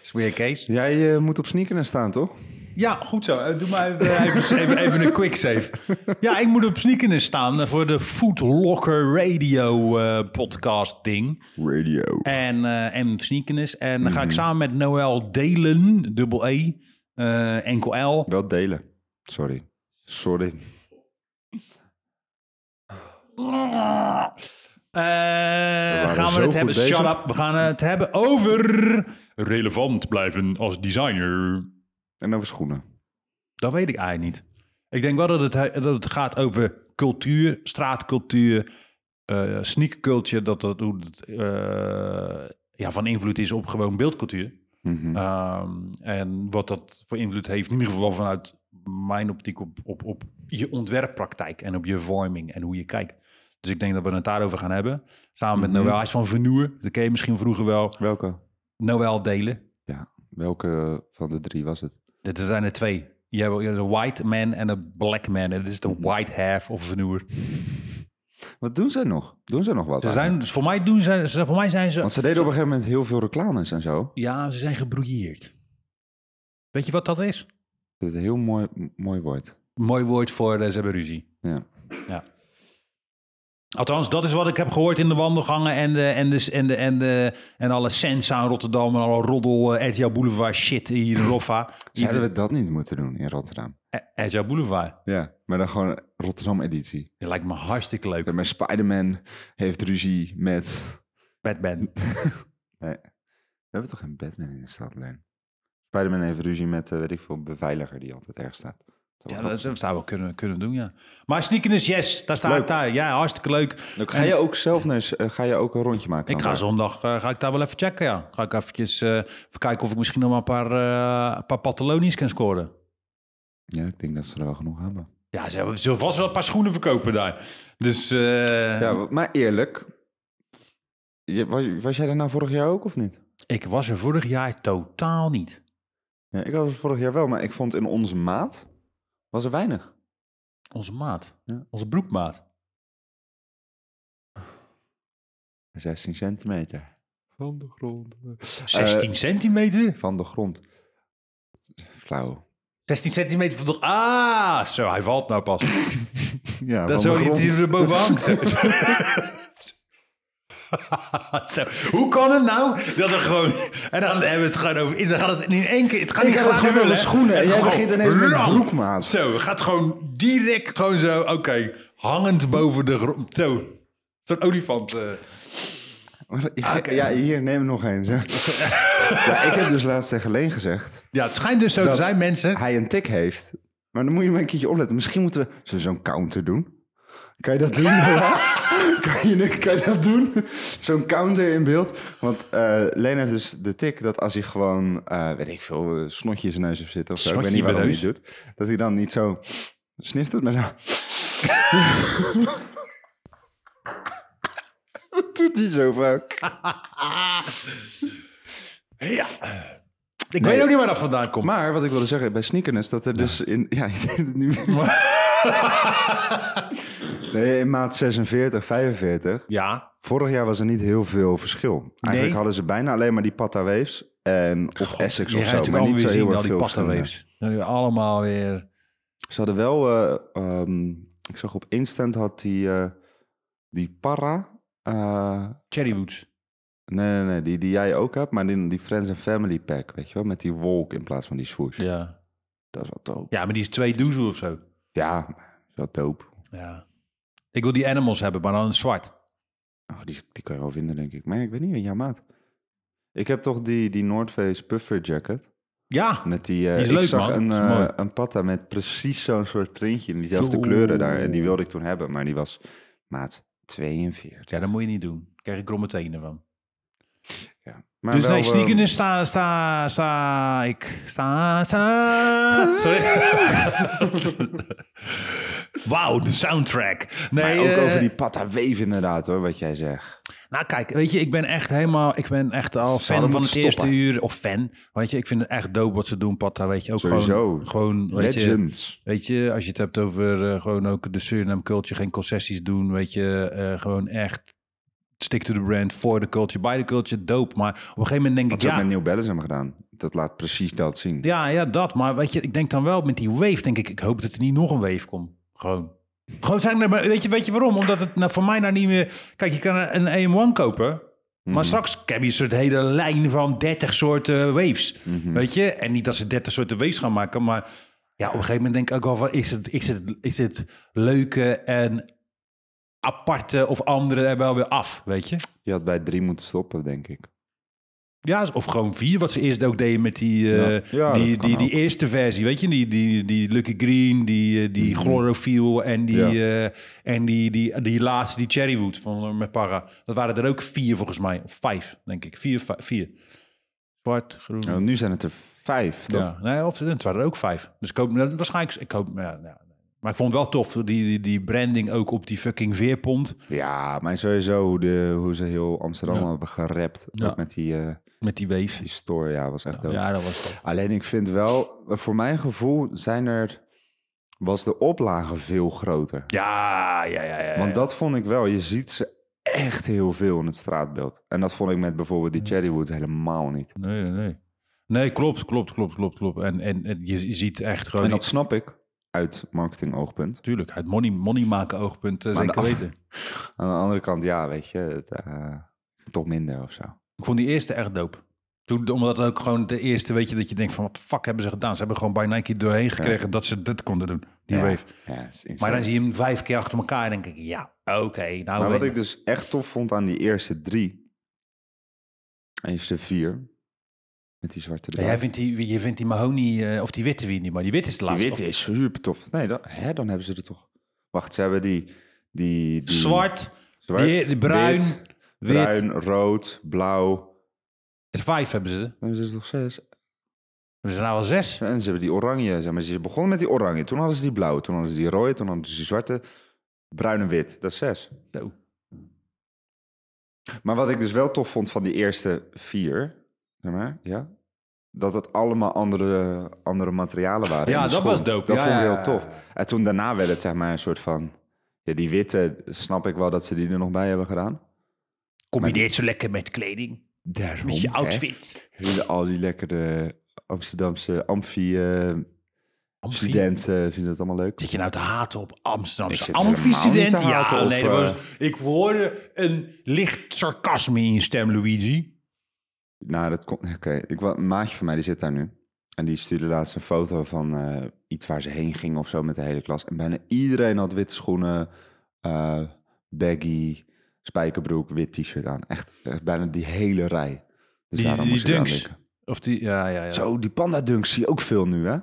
S1: Smeer Kees.
S2: Jij eh, moet op sneakers staan, toch?
S1: Ja, goed zo. Eh, Doe maar even, even, even, even een quick save. Ja, ik moet op sneakers staan eh, voor de Food Locker Radio eh, podcast ding.
S2: Radio.
S1: En, eh en sneakers. En dan ga ik samen met Noël Delen, dubbel E, eh, enkel L.
S2: Wel delen. Sorry. Sorry.
S1: Eh, gaan we
S2: zo
S1: het
S2: goed
S1: hebben?
S2: bezig.
S1: Shut up. We gaan het hebben over relevant blijven als designer.
S2: En over schoenen.
S1: Dat weet ik eigenlijk niet. Ik denk wel dat het, he- dat het gaat over cultuur, straatcultuur, eh sneakculture, dat dat hoe het, eh, ja, van invloed is op gewoon beeldcultuur. Ehm, en wat dat voor invloed heeft, in ieder geval vanuit mijn optiek, op, op, op je ontwerppraktijk en op je vorming en hoe je kijkt. Dus ik denk dat we het daarover gaan hebben. Samen met
S2: Mhm.
S1: Noël. Hij is van Vernoer. Dat ken je misschien vroeger wel.
S2: Welke?
S1: Noël delen.
S2: Ja, welke van de drie was het?
S1: Dit zijn er twee. Je hebt je hebt een white man en een black man. En dit is de white half of vernoer.
S2: Wat doen ze nog? Doen ze nog wat?
S1: Ze
S2: eigenlijk?
S1: zijn, dus voor, mij doen ze, ze- voor mij zijn ze...
S2: Want ze deden op een gegeven moment heel veel reclames en zo.
S1: Ja, ze zijn gebrouilleerd. Weet je wat dat is?
S2: Dat het heel mooi, mooi wordt.
S1: Mooi woord voor eh, ze hebben ruzie.
S2: Ja.
S1: Ja. Althans, dat is wat ik heb gehoord in de wandelgangen en, de, en, de, en, de, en, de, en alle Sensa in Rotterdam en alle roddel, uh, RTL Boulevard shit hier in Roffa.
S2: Zouden we dat niet moeten doen in Rotterdam?
S1: Eh, RTL Boulevard.
S2: Ja, maar dan gewoon Rotterdam-editie.
S1: Dat lijkt me hartstikke leuk.
S2: Ja, Maar Spider-Man heeft ruzie met...
S1: Batman.
S2: We hebben toch geen Batman in de stad, Leen? Spider-Man heeft ruzie met, eh, weet ik veel, beveiliger die altijd erg staat. Dat
S1: Ja,
S2: was
S1: dat zou we kunnen, kunnen doen, ja. Maar sneakers, yes, daar sta ik
S2: Leuk.
S1: daar. Ja, hartstikke leuk.
S2: leuk. Ga je ook zelf naar, eens- eh, ga je ook een rondje maken?
S1: Ik
S2: dan
S1: ga
S2: daar?
S1: zondag eh, ga ik daar wel even checken, ja. Ga ik eventjes eh, even kijken of ik misschien nog maar een paar, eh, een paar Patagonisch kan scoren.
S2: Ja, ik denk dat ze er wel genoeg hebben.
S1: Ja, ze hebben- ze zullen vast wel een paar schoenen verkopen daar. Dus eh,
S2: Ja, wa- maar eerlijk. je- was, was jij daar nou vorig jaar ook of niet?
S1: ik was er vorig jaar totaal niet.
S2: Ja, ik was er vorig jaar wel, maar ik vond in onze maat was er weinig.
S1: Onze maat.
S2: Ja.
S1: Onze broekmaat.
S2: 16 centimeter. Van de grond.
S1: 16 centimeter?
S2: Van de grond. Flauw.
S1: 16 centimeter van de... Ah, zo, hij valt nou pas.
S2: Ja,
S1: Dat
S2: van
S1: zo
S2: de grond.
S1: die er boven hangt. Zo, Hoe kan het nou dat er gewoon... En dan hebben we het gewoon over... Dan gaat het in één keer... Het gaat
S2: Ik
S1: niet
S2: heb het
S1: graag
S2: gewoon over
S1: willen, hè.
S2: schoenen. En
S1: Het
S2: jij
S1: gaat
S2: begint
S1: gewoon
S2: ineens met
S1: ram.
S2: broekmaat.
S1: Zo, het gaat gewoon direct gewoon zo... Oké, hangend boven de grond. Zo, zo'n olifant. eh.
S2: Maar ik- Ja, hier, neem er nog een. zeg. ja, ik heb dus laatst tegen Leen gezegd...
S1: Ja, het schijnt dus zo
S2: Dat-
S1: te zijn, mensen.
S2: hij een tik heeft. Maar dan moet je maar een keertje opletten. Misschien moeten we zullen we zo'n counter doen. Kan je dat doen? Noah? kan, je, kan je dat doen? Zo'n counter in beeld. Want eh Leen heeft dus de tik dat als hij gewoon, eh, weet ik veel, eh, snotje in zijn neus heeft zitten of zo. Ik weet
S1: Snotje
S2: niet
S1: in
S2: waarom hij
S1: mijn
S2: het doet. Dat hij dan niet zo snift doet, maar zo... Wat doet hij zo vaak?
S1: Ja. Ik
S2: Nee.
S1: weet ook niet waar dat vandaan komt.
S2: Maar wat ik wilde zeggen bij sneakers, dat er dus in. Ja, ik deed het nu. nee, in maat 46, 45.
S1: Ja,
S2: Vorig jaar was er niet heel veel verschil. Eigenlijk
S1: Nee.
S2: hadden ze bijna alleen maar die Pata Waves. En, of Essex
S1: je
S2: of
S1: hebt
S2: zo.
S1: natuurlijk
S2: Maar niet
S1: alweer
S2: zo
S1: zien
S2: heel
S1: dat
S2: erg
S1: die
S2: veel verschil.
S1: pastaweefs. Nu allemaal weer...
S2: Ze hadden wel. eh, ehm, ik zag op Instant had die. eh, die Para. eh,
S1: Cherrywoods.
S2: nee, nee, nee. Die, die jij ook hebt. Maar die, die Friends and Family Pack. Weet je wel? Met die wolk in plaats van die swoosh.
S1: Ja.
S2: Dat is wel dope.
S1: ja, maar die is twee doezel of zo.
S2: Ja, dat is wel dope.
S1: Ja. Ik wil die animals hebben, maar dan zwart.
S2: Oh, die, die kan je wel vinden, denk ik. Maar ja, ik weet niet, ja, maat. Ik heb toch die, die North Face puffer jacket.
S1: Ja.
S2: Met die, eh,
S1: Die is
S2: ik
S1: leuk,
S2: zag
S1: man.
S2: een,
S1: Dat is
S2: eh,
S1: mooi.
S2: een patta met precies zo'n soort printje. En diezelfde
S1: Zo.
S2: kleuren daar. En die wilde ik toen hebben, maar die was maat 42.
S1: Ja, dat moet je niet doen. Daar krijg ik kromme tenen van.
S2: Ja. Maar
S1: dus
S2: wel,
S1: nee,
S2: eh,
S1: sneakers sta, sta, sta, ik, sta, sta. Sorry. Wauw, de soundtrack.
S2: maar
S1: Nee,
S2: ook
S1: eh,
S2: over die patta weef inderdaad, hoor, wat jij zegt.
S1: Nou, kijk, weet je, ik ben echt helemaal, ik ben echt al fan
S2: Zouden
S1: van het
S2: moeten
S1: eerste
S2: stoppen.
S1: uur. Of fan. Weet je, ik vind het echt dope wat ze doen, Patta. Weet je, ook
S2: Sowieso.
S1: gewoon, gewoon weet je,
S2: Legends.
S1: Weet je, als je het hebt over eh, gewoon ook de Suriname culture, geen concessies doen, weet je, eh, gewoon echt stick to the brand, voor de culture, by the culture, dope. Maar op een gegeven moment denk
S2: Wat
S1: ik,
S2: ze ook
S1: ja,
S2: met New Balance hebben gedaan. Dat laat precies dat zien.
S1: ja, ja, dat. Maar weet je, ik denk dan wel met die wave, denk ik, ik hoop dat er niet nog een wave komt. Gewoon. Gewoon zijn er, maar weet je, weet je waarom? Omdat het nou, voor mij nou niet meer... Kijk, je kan een AM1 kopen, maar straks heb je een soort hele lijn van 30 soorten waves. Weet je? En niet dat ze 30 soorten waves gaan maken, maar ja, op een gegeven moment denk ik ook wel van, is het, is het, is het leuke en aparte of andere er wel weer af, weet je?
S2: Je had bij drie moeten stoppen, denk ik.
S1: Ja, of gewoon vier, wat ze eerst ook deden met die, eh,
S2: Ja. Ja,
S1: die,
S2: dat kan
S1: die, die
S2: ook.
S1: eerste versie. Weet je, die, die, die Lucky Green, die, eh,
S2: Mhm.
S1: die Chlorophyll en, die, eh, en die, die, die laatste, die Cherrywood van, eh, met Parra. Dat waren er ook vier volgens mij, of vijf, denk ik. Vier, vijf, vier. Zwart, groen.
S2: Nou, nu zijn het er vijf. toch?
S1: Ja, nee, of het waren er ook vijf. Dus ik hoop, nou, waarschijnlijk, ik hoop, ja, ja. maar ik vond het wel tof, die, die, die branding ook op die fucking veerpont.
S2: Ja, maar sowieso hoe, de, hoe ze heel Amsterdam
S1: Ja.
S2: hebben gerapt.
S1: Ja.
S2: Ook met die, eh,
S1: Met die weef.
S2: die store, ja, was echt dope.
S1: Ja, dat was tof.
S2: Alleen ik vind wel, voor mijn gevoel zijn er, was de oplage veel groter.
S1: Ja, ja, ja, ja.
S2: Want dat vond ik wel, je ziet ze echt heel veel in het straatbeeld. En dat vond ik met bijvoorbeeld die Cherrywood helemaal niet.
S1: Nee, nee, nee. Nee, klopt, klopt, klopt, klopt, klopt. En, en, en je je ziet echt gewoon...
S2: En dat snap ik uit marketing oogpunt.
S1: Natuurlijk, uit money, money maken oogpunt, eh,
S2: Maar
S1: zeker
S2: de af-
S1: weten.
S2: Aan de andere kant, ja, weet je, het, eh, toch minder of zo.
S1: Ik vond die eerste echt dope. Toen, omdat het ook gewoon de eerste, weet je, dat je denkt van... wat de fuck hebben ze gedaan? Ze hebben gewoon bij Nike doorheen gekregen dat ze dit konden doen. Die
S2: ja.
S1: wave.
S2: Ja, het is
S1: Maar
S2: insane.
S1: dan zie je hem vijf keer achter elkaar en denk ik... Ja, oké, nou...
S2: Maar wat
S1: weet
S2: ik dus echt tof vond aan die eerste drie, eerste vier, met die zwarte
S1: Ja,
S2: erbij.
S1: Jij vindt die, je vindt die mahoney, eh, of die witte wie niet, maar die witte is de
S2: Die
S1: laatste.
S2: wit
S1: toch?
S2: is super tof. Nee, dan, hè, dan hebben ze er toch. Wacht, ze hebben die. die, die
S1: Zwart,
S2: zwart,
S1: die- die bruin,
S2: wit,
S1: wit.
S2: bruin, rood, blauw.
S1: is vijf hebben ze.
S2: Dan hebben ze er toch zes.
S1: Hebben ze nou al zes?
S2: En ze hebben die oranje. Zeg maar. Ze begonnen met die oranje. Toen hadden ze die blauwe. Toen hadden ze die rode. Toen hadden ze die zwarte. Bruin en wit. Dat is zes.
S1: Zo.
S2: Maar wat ik dus wel tof vond van die eerste vier. Zeg maar, ja. Dat het allemaal andere, andere materialen waren.
S1: Ja,
S2: in de
S1: dat
S2: schoen.
S1: was dope.
S2: Dat
S1: Ja,
S2: vond ik
S1: ja,
S2: heel
S1: ja.
S2: tof. En toen daarna werd het zeg maar een soort van... Ja, die witte snap ik wel dat ze die er nog bij hebben gedaan.
S1: Combineert zo lekker met kleding,
S2: Daarom,
S1: met je
S2: hè.
S1: outfit.
S2: Vinden al die lekkere Amsterdamse amfi-studenten
S1: Amfi.
S2: vinden het allemaal leuk.
S1: Zit je nou te haten op
S2: Ik
S1: Amsterdamse
S2: zit helemaal niet
S1: amfi-student?
S2: te haten
S1: Ja,
S2: op,
S1: nee, dat was,
S2: eh,
S1: ik hoorde een licht sarcasme in je stem, Luigi.
S2: Nou, dat komt. Oké, ik wa- een maatje van mij die zit daar nu. En die stuurde laatst een foto van eh, iets waar ze heen ging of zo met de hele klas. En bijna iedereen had witte schoenen, eh, baggy, spijkerbroek, wit t-shirt aan. Echt, echt bijna die hele rij. Dus
S1: Die,
S2: daarom
S1: die
S2: moest ik eraan
S1: dunks.
S2: denken.
S1: Of die, ja, ja, ja.
S2: Zo, die panda dunks zie je ook veel nu, hè?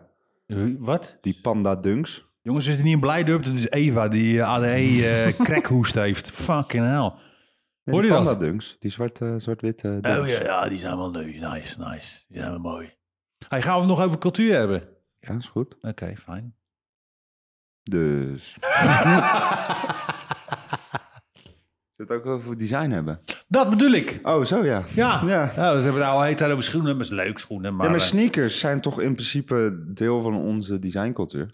S1: Huh, Wat?
S2: Die panda dunks.
S1: Jongens, is er niet een blijdurp? Dat is Eva die eh, ADE eh crackhoest heeft. Fucking hell.
S2: Nee,
S1: Hoor
S2: die
S1: je dat?
S2: panda dunks. Die zwarte, zwart-witte eh, dunks.
S1: Oh ja, ja, die zijn wel leuk. Nice, nice. Die zijn wel mooi. Hey, gaan we het nog over cultuur hebben? Oké,
S2: Ja, is goed.
S1: fijn.
S2: Dus. Zit ook over design hebben.
S1: Dat bedoel ik.
S2: Oh, zo ja.
S1: Ja.
S2: Ja.
S1: Nou, we hebben het al een hele tijd over schoenen. Maar het is leuk schoenen. Maar,
S2: ja, maar
S1: eh,
S2: sneakers zijn toch in principe deel van onze designcultuur?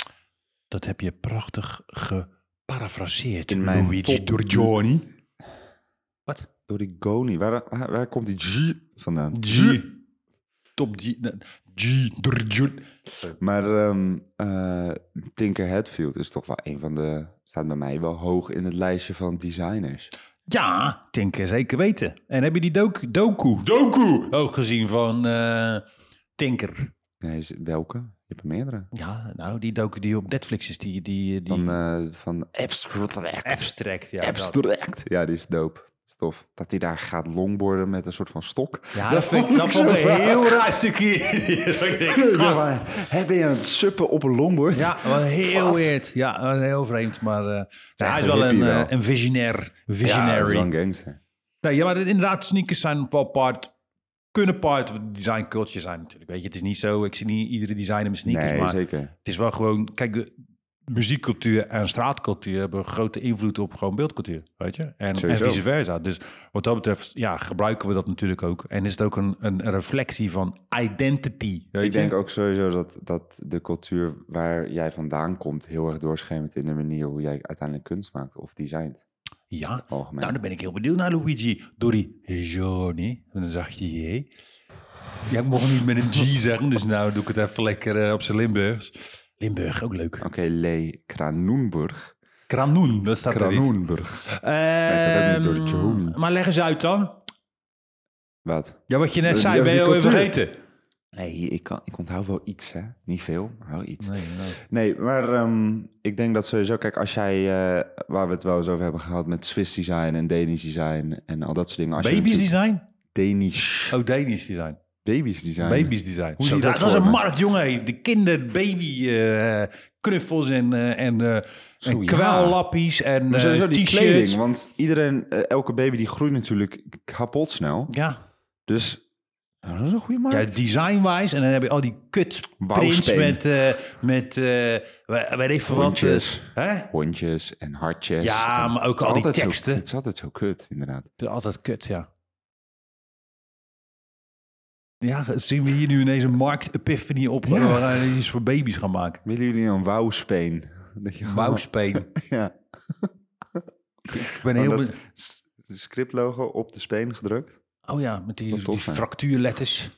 S1: dat heb je prachtig geparafraseerd.
S2: In mijn top-
S1: Giorgioni. Wat?
S2: Door die Goni. Waar, waar waar komt die G vandaan?
S1: G. Top G. nee, G. Giorgioni.
S2: Maar ehm, eh, Tinker Hatfield is toch wel een van de... Staat bij mij wel hoog in het lijstje van designers.
S1: Ja, Tinker, zeker weten. En heb je die doku, doku, doku ook gezien van eh, Tinker?
S2: Nee, is- welke? Je hebt er meerdere.
S1: Ja, nou, die docu die op Netflix is, die... die, die
S2: Van, eh, van Abstract.
S1: abstract, ja. dat.
S2: Abstract. Ja, die is dope. Dat is tof. Dat hij daar gaat longboarden met een soort van stok.
S1: Ja, dat vond ik, dat vond ik
S2: zo
S1: een heel raar stukje.
S2: Ja,
S1: Gast.
S2: maar, hè, ben je aan het suppen op een longboard?
S1: Ja, wat heel
S2: Wat?
S1: weird. Ja, dat was heel vreemd, maar eh,
S2: echt
S1: hij is
S2: een
S1: wel een,
S2: hippie wel.
S1: eh, een visionair.
S2: Ja, dat is
S1: Visionary.
S2: wel een gangster.
S1: nee, ja, maar inderdaad, sneakers zijn wel part... Kunnen part van design culture zijn natuurlijk. Weet je, het is niet zo... Ik zie niet iedere designer met sneakers,
S2: Nee,
S1: maar...
S2: zeker.
S1: Het is wel gewoon, kijk, de muziekcultuur en straatcultuur hebben grote invloed op gewoon beeldcultuur, weet je? En, en
S2: Sowieso.
S1: vice versa. Dus wat dat betreft, ja, gebruiken we dat natuurlijk ook. En is het ook een, een reflectie van identity, weet
S2: Ik
S1: je?
S2: denk ook sowieso dat, dat de cultuur waar jij vandaan komt heel erg doorschemert in de manier hoe jij uiteindelijk kunst maakt of designt.
S1: Ja,
S2: Algemeen.
S1: nou, dan ben ik heel benieuwd naar Luigi. Dori Johnny, en dan zag je je. Ja, ik mocht niet met een G zeggen, dus nou doe ik het even lekker eh, op zijn Limburgs. Limburg, ook leuk.
S2: Oké, Le Kranoenburg.
S1: Kranoen, dat staat er niet.
S2: Kranoenburg. staat ook
S1: Ehm
S2: niet door de Joan.
S1: maar leg eens uit dan.
S2: Wat?
S1: Ja, wat je net
S2: Die-
S1: zei,
S2: Eh, die-
S1: ben je
S2: die
S1: alweer
S2: cultuur.
S1: vergeten.
S2: Nee, ik, kan, ik onthoud wel iets, hè? Niet veel, maar wel iets. Nee, maar ehm, ik denk dat sowieso, kijk, als jij, eh, waar we het wel eens over hebben gehad met Swiss design en Danish design en al dat soort dingen. Als je
S1: Baby's
S2: natuurlijk-
S1: design?
S2: Danish
S1: Oh, Danish design.
S2: baby's design.
S1: Baby's design. Hoe
S2: Zo,
S1: zie je dat?
S2: dat
S1: Dat is
S2: voor
S1: een
S2: me.
S1: markt, jongen. hé. De kinderbaby eh, knuffels en, eh en, eh
S2: Zo,
S1: en
S2: ja.
S1: kwellappies en
S2: Maar sowieso
S1: eh,
S2: die
S1: t-shirts.
S2: kleding, want iedereen, eh, elke baby die groeit natuurlijk kapot snel.
S1: Ja,
S2: Dus nou, dat is een goede
S1: ja
S2: markt.
S1: designwijs. En dan heb je al die kut prints
S2: Bouwsteen.
S1: met, eh met eh we- weet ik veel wat. eh,
S2: Hondjes.
S1: hè?
S2: Hondjes en hartjes.
S1: Ja,
S2: En
S1: maar ook
S2: het is
S1: al die
S2: altijd zo-
S1: teksten.
S2: het is altijd zo kut, inderdaad.
S1: Het is altijd kut, ja. Ja, zien we hier nu ineens een markt-epiphany op...
S2: Ja.
S1: waar we iets voor baby's gaan maken.
S2: Willen jullie een wauwspeen? Dat je gewoon-
S1: Bouwspeen.
S2: Ja.
S1: Ik ben heel...
S2: Heel Oh, dat
S1: be-
S2: s- scriptlogo op de speen gedrukt.
S1: Oh ja, met die,
S2: Wat tof
S1: die
S2: zijn.
S1: fractuurletters.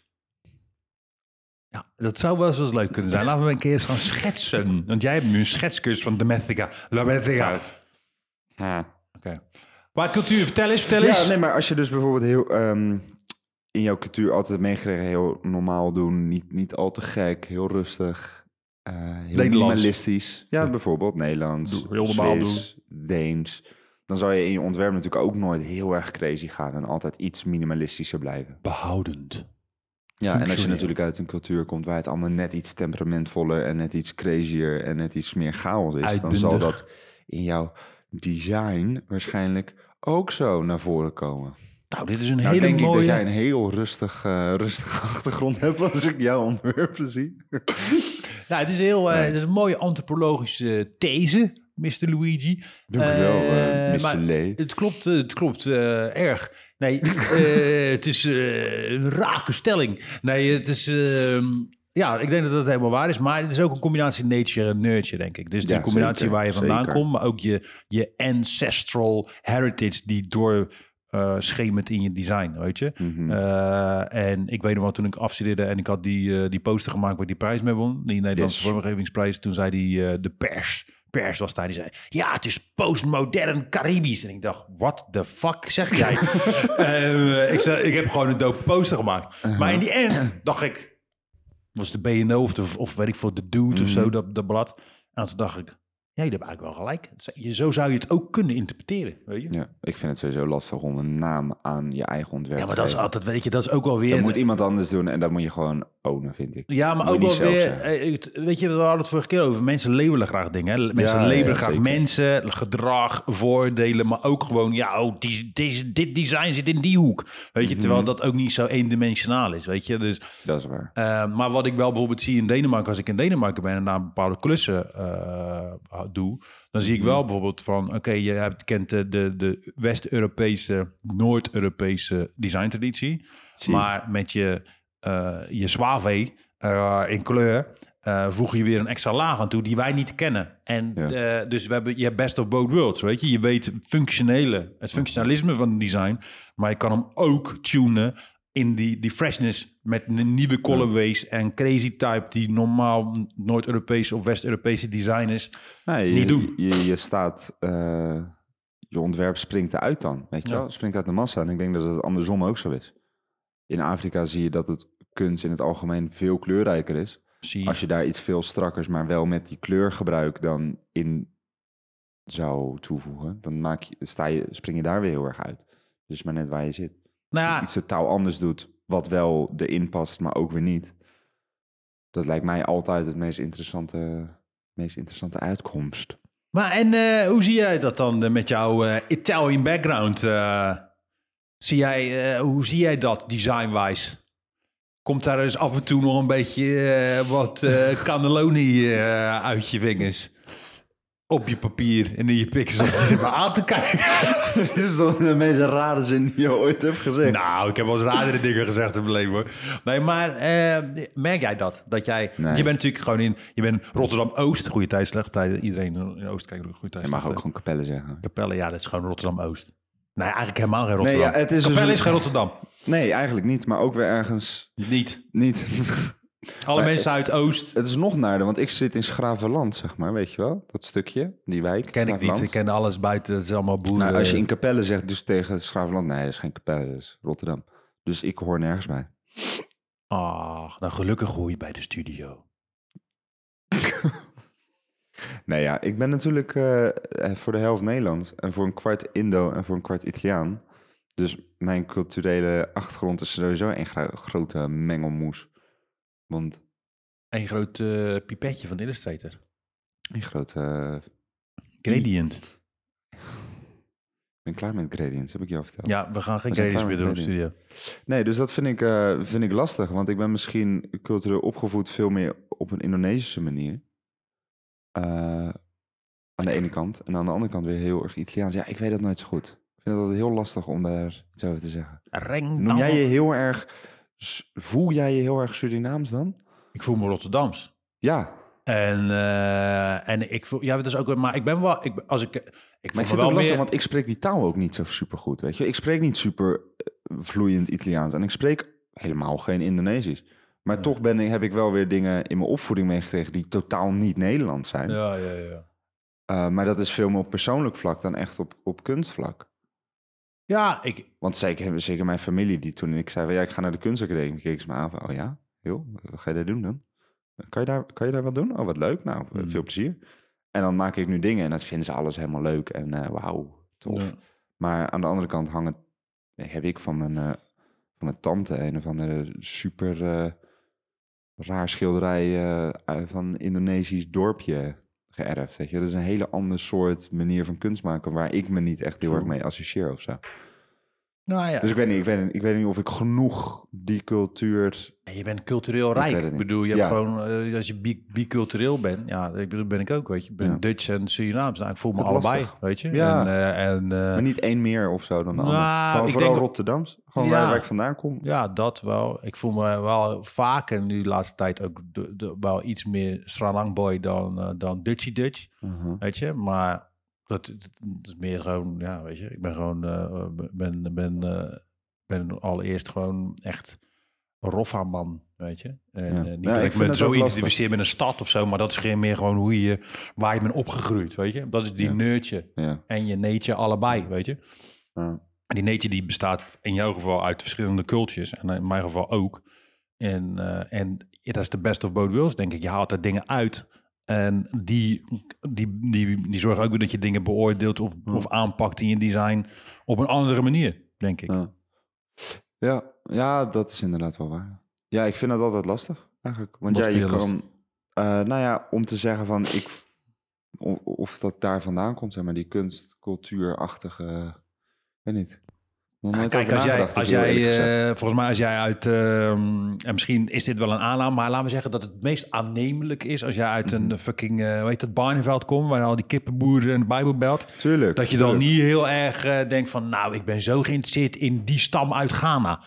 S1: Ja, dat zou wel eens wel eens leuk kunnen zijn. Laten we een keer eens gaan schetsen. Want jij hebt nu een schetskus van Dometica. Dometica. Oké.
S2: Ja.
S1: Maar cultuur, vertel eens, vertel eens.
S2: Ja, nee, maar als je dus bijvoorbeeld heel ehm, in jouw cultuur altijd meegekregen, heel normaal doen, niet, niet al te gek, heel rustig, eh heel
S1: Nederlands.
S2: minimalistisch. Ja, bijvoorbeeld Nederlands,
S1: Doe- heel normaal
S2: Swiss, Deens. Dan zou je in je ontwerp natuurlijk ook nooit heel erg crazy gaan en altijd iets minimalistischer blijven.
S1: Behoudend.
S2: Ja, en als je
S1: Functioneel.
S2: natuurlijk uit een cultuur komt waar het allemaal net iets temperamentvoller en net iets crazier en net iets meer chaos is,
S1: Uitbundig.
S2: dan zal dat in jouw design waarschijnlijk ook zo naar voren komen.
S1: Nou, dit is een
S2: Nou,
S1: hele
S2: denk
S1: mooie...
S2: ik dat jij een heel rustig, eh rustige achtergrond hebt als ik jouw ontwerpen zie.
S1: Nou, het is, heel, eh, het is een mooie antropologische these, Mr. Luigi.
S2: Dank u wel, eh,
S1: Eh,
S2: Mr.
S1: maar
S2: Lee.
S1: Het klopt, eh, het klopt eh, erg. Nee, eh, het is eh, een rake stelling. Nee, het is... ehm, ja, ik denk dat dat helemaal waar is. Maar het is ook een combinatie nature en nurture, denk ik. Dus die
S2: Ja,
S1: combinatie
S2: zeker,
S1: waar je vandaan
S2: zeker.
S1: komt, maar ook je, je ancestral heritage die door eh, schemert in je design, weet je. Eh, en ik weet nog wel, toen ik afstudeerde en ik had die, eh, die poster gemaakt waar ik die prijs mee won, die Nederlandse
S2: Yes.
S1: vormgevingsprijs, toen zei die, eh, de pers, pers was daar, die zei, ja, het is postmodern Caribisch. En ik dacht, what the fuck zeg jij? Eh, ik, zei, ik heb gewoon een dope poster gemaakt. Maar in die end dacht ik, was de BNO of, de, of weet ik veel, de Dude of
S2: Mhm.
S1: zo, dat, dat blad. En toen dacht ik, ja, je hebt eigenlijk wel gelijk. Je- Zo zou je het ook kunnen interpreteren, weet je? Ja,
S2: Ja, ik vind het sowieso lastig om een naam aan je eigen ontwerp
S1: maar
S2: te
S1: dat is
S2: geven.
S1: altijd, weet je, dat is ook alweer...
S2: Dat moet iemand anders doen en dat moet je gewoon ownen, vind ik.
S1: Ja, maar ook
S2: Moet je
S1: wel
S2: niet zelf
S1: weer...
S2: zeggen.
S1: eh, het- Weet je, we hadden het vorige keer over. Mensen labelen graag dingen. Hè? Mensen
S2: Ja, ja,
S1: labelen
S2: ja,
S1: graag
S2: zeker.
S1: mensen, gedrag, voordelen. Maar ook gewoon, ja, oh, die, deze, dit design zit in die hoek. Weet je,
S2: Mhm.
S1: terwijl dat ook niet zo eendimensionaal is. Weet je, dus...
S2: Dat is waar.
S1: Eh, maar wat ik wel bijvoorbeeld zie in Denemarken, als ik in Denemarken ben en daar bepaalde klussen eh, doe, dan zie ik wel bijvoorbeeld van, oké, je hebt, kent de, de, de West-Europese, Noord-Europese designtraditie,
S2: Zie.
S1: maar met je, eh je suave eh, in kleur eh, voeg je weer een extra laag aan toe die wij niet kennen. En
S2: Ja.
S1: eh, dus we hebben, je hebt best of both worlds, weet je. Je weet functionele, het functionalisme van het design, maar je kan hem ook tunen in die, die freshness met een nieuwe colorways en crazy type die normaal Noord-Europese of West-Europese designers.
S2: Nee, je,
S1: Niet doen.
S2: Je, je staat, eh, je ontwerp springt eruit dan, weet je
S1: Ja.
S2: wel? Springt uit de massa. En ik denk dat het andersom ook zo is. In Afrika zie je dat het kunst in het algemeen veel kleurrijker is.
S1: Zie
S2: Als je daar iets veel strakkers, maar wel met die kleurgebruik dan in zou toevoegen, dan maak je, sta je, spring je daar weer heel erg uit. Dus maar net waar je zit.
S1: nou ja,
S2: Iets totaal anders doet, wat wel erin past, maar ook weer niet. Dat lijkt mij altijd het meest interessante, meest interessante uitkomst.
S1: maar en eh, hoe zie jij dat dan eh, met jouw eh, Italian background? eh? zie jij, eh, hoe zie jij dat design-wise? Komt daar dus af en toe nog een beetje eh, wat eh cannelloni eh, uit je vingers? Op je papier en in je pixels. Zit maar aan te kijken.
S2: Dit is toch de meest rare zin die je ooit hebt gezegd?
S1: Nou, ik heb wel eens radere dingen gezegd in mijn leven hoor. Nee, maar eh, merk jij dat? Dat jij,
S2: Nee.
S1: je bent natuurlijk gewoon in, je bent Rotterdam-Oost, goede tijd, slechte tijd. Iedereen in Oost kijkt ook goede tijd.
S2: je mag ook
S1: slechte
S2: gewoon kapellen zeggen.
S1: tijd. Capelle, ja, dat is gewoon Rotterdam-Oost. Nee, eigenlijk helemaal geen
S2: Nee,
S1: Rotterdam.
S2: ja, het is dus
S1: Capelle
S2: een-
S1: is geen Rotterdam.
S2: Nee, eigenlijk niet, maar ook weer ergens
S1: Niet.
S2: niet.
S1: Alle
S2: Maar-
S1: mensen uit Oost
S2: Het is nog naarder, want ik zit in Schravenland, zeg maar, weet je wel? Dat stukje, die wijk.
S1: ken ik niet.
S2: Schravenland.
S1: Ik ken alles buiten, het is allemaal boeren.
S2: Nou, als je in Capelle zegt, dus tegen Schravenland, nee, dat is geen Capelle, dat is Rotterdam. Dus ik hoor nergens bij.
S1: Ach, nou gelukkig hoor je bij de studio.
S2: Nee, ja, ik ben natuurlijk eh, eh, voor de helft Nederlands en voor een kwart Indo en voor een kwart Italiaan. Dus mijn culturele achtergrond is sowieso een gro- grote mengelmoes. Want
S1: Een groot eh, pipetje van de Illustrator.
S2: een grote... eh,
S1: Gradient.
S2: Ik ben klaar met gradients, heb ik je al verteld.
S1: Ja, we gaan geen
S2: We zijn
S1: gradients meer
S2: klaar
S1: doen op
S2: met
S1: de studio.
S2: Nee, dus dat vind ik, eh, vind ik lastig. Want ik ben misschien cultureel opgevoed veel meer op een Indonesische manier. Eh, aan de ene kant. En aan de andere kant weer heel erg Italiaans. Ja, ik weet dat nooit zo goed. Ik vind dat heel lastig om daar iets over te zeggen.
S1: Reng,
S2: Noem
S1: dan-
S2: jij je heel erg... s- Voel jij je heel erg Surinaams dan?
S1: Ik voel me Rotterdams.
S2: Ja.
S1: En, eh, en ik voel, ja, dat is ook, maar ik ben wel, ik, ben- als ik, ik voel
S2: Maar
S1: me
S2: ik vind het
S1: wel
S2: ook lastig,
S1: meer,
S2: want ik spreek die taal ook niet zo super goed. Weet je? Ik spreek niet super eh, vloeiend Italiaans. En ik spreek helemaal geen Indonesisch. Maar toch ben ik, heb ik wel weer dingen in mijn opvoeding meegekregen die totaal niet Nederlands zijn.
S1: ja, ja, ja.
S2: Eh, maar dat is veel meer op persoonlijk vlak dan echt op, op kunstvlak.
S1: Ja, ik,
S2: Want zeker, zeker mijn familie, die toen ik zei, ja, ik ga naar de kunstacademie, keken ze me aan van, oh ja, joh, wat ga je daar doen dan? Kan je daar, kan je daar wat doen? Oh, wat leuk, nou,
S1: Hmm.
S2: veel plezier. En dan maak ik nu dingen en dat vinden ze alles helemaal leuk en eh, wauw, tof.
S1: Ja.
S2: Maar aan de andere kant hangen, heb ik van mijn, eh, van mijn tante een of andere super eh, raar schilderij eh, uit- van Indonesisch dorpje geërfd. Weet je? Dat is een hele ander soort manier van kunst maken waar ik me niet echt heel erg mee associeer of zo.
S1: nou ja.
S2: Dus ik weet niet, ik weet, niet- ik weet niet of ik genoeg die cultuur...
S1: En je bent cultureel
S2: weet
S1: rijk.
S2: het
S1: Ik
S2: niet.
S1: bedoel, je hebt
S2: Ja.
S1: gewoon, eh, als je bi- bicultureel bent, ja, ik bedoel, ben ik ook, weet je. Ik ben
S2: Ja.
S1: Dutch en Surinaams. Nou, ik voel me
S2: Wat
S1: allebei,
S2: lastig.
S1: weet je.
S2: Ja.
S1: En, eh, en eh,
S2: Maar niet één meer of zo dan de
S1: Nou,
S2: ander. Gewoon
S1: ik
S2: vooral
S1: denk-
S2: Rotterdams. Gewoon
S1: Ja.
S2: waar, waar ik vandaan kom.
S1: ja, dat wel. Ik voel me wel vaker nu de laatste tijd ook de- de- wel iets meer Sranang boy dan, eh, dan Dutchy Dutch,
S2: Mhm.
S1: weet je. Maar dat, dat is meer gewoon, ja, weet je. Ik ben gewoon, eh, ben, ben, eh, ben allereerst gewoon echt roffa man, weet je. En,
S2: Ja.
S1: eh, niet
S2: Ja, ik
S1: dat ik
S2: vind
S1: me
S2: het
S1: zo
S2: ook lastig.
S1: identificeer met een stad of zo, maar dat is geen meer gewoon hoe je, waar je bent opgegroeid, weet je. Dat is die
S2: Ja.
S1: neurtje
S2: Ja.
S1: en je neetje allebei, weet je.
S2: Ja.
S1: En die neetje die bestaat in jouw geval uit verschillende cultures. En in mijn geval ook. En, eh, en ja, dat is de best of both worlds, denk ik. Je haalt er dingen uit. En die, die, die, die zorgen ook weer dat je dingen beoordeelt of, of aanpakt in je design op een andere manier, denk ik.
S2: Ja. Ja, ja, dat is inderdaad wel waar. Ja, ik vind dat altijd lastig eigenlijk. Want
S1: Wat
S2: ja,
S1: vind
S2: je
S1: je
S2: kan... eh, nou ja, om te zeggen van ik... v- o- Of dat daar vandaan komt, zeg maar, die kunst, cultuurachtige... ik weet niet. Nog nooit
S1: Ah, Kijk,
S2: over
S1: als jij,
S2: nagedacht,
S1: als
S2: ik bedoel,
S1: jij
S2: eerlijk gezegd.
S1: eh, volgens mij, als jij uit, ehm, en misschien is dit wel een aanname, maar laten we zeggen dat het meest aannemelijk is als jij uit
S2: Mhm.
S1: een fucking, eh, hoe heet dat, Barneveld komt, waar al die kippenboeren en de Bijbelbelt.
S2: Tuurlijk,
S1: Dat je dan
S2: tuurlijk.
S1: niet heel erg eh, denkt van, nou, ik ben zo geïnteresseerd in die stam uit Ghana.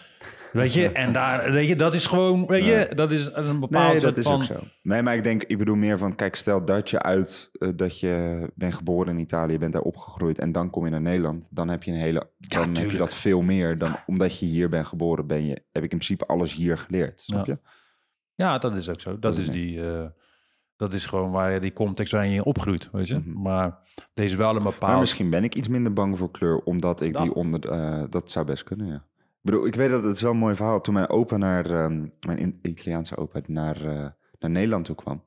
S1: Weet je, en daar, weet je, dat is gewoon, weet je, dat is een bepaald
S2: Nee,
S1: soort
S2: dat is
S1: van...
S2: ook zo. Nee, maar ik denk, ik bedoel meer van, kijk, stel dat je uit eh, dat je bent geboren in Italië, je bent daar opgegroeid en dan kom je naar Nederland, dan heb je een hele, dan heb je
S1: tuurlijk.
S2: dat veel meer dan omdat je hier bent geboren, ben je, heb ik in principe alles hier geleerd, snap
S1: Ja.
S2: je?
S1: Ja, dat is ook zo. Dat, is die, eh, dat is gewoon waar je die context waarin je opgroeit, weet je. Maar deze wel een
S2: Mhm. Maar
S1: bepaald...
S2: misschien ben ik iets minder bang voor kleur, omdat ik
S1: Dat-
S2: die onder, eh, dat zou best kunnen, ja. Ik bedoel, ik weet dat het is wel een mooi verhaal. Toen mijn opa naar, ehm, mijn In- Italiaanse opa naar, eh, naar Nederland toe kwam,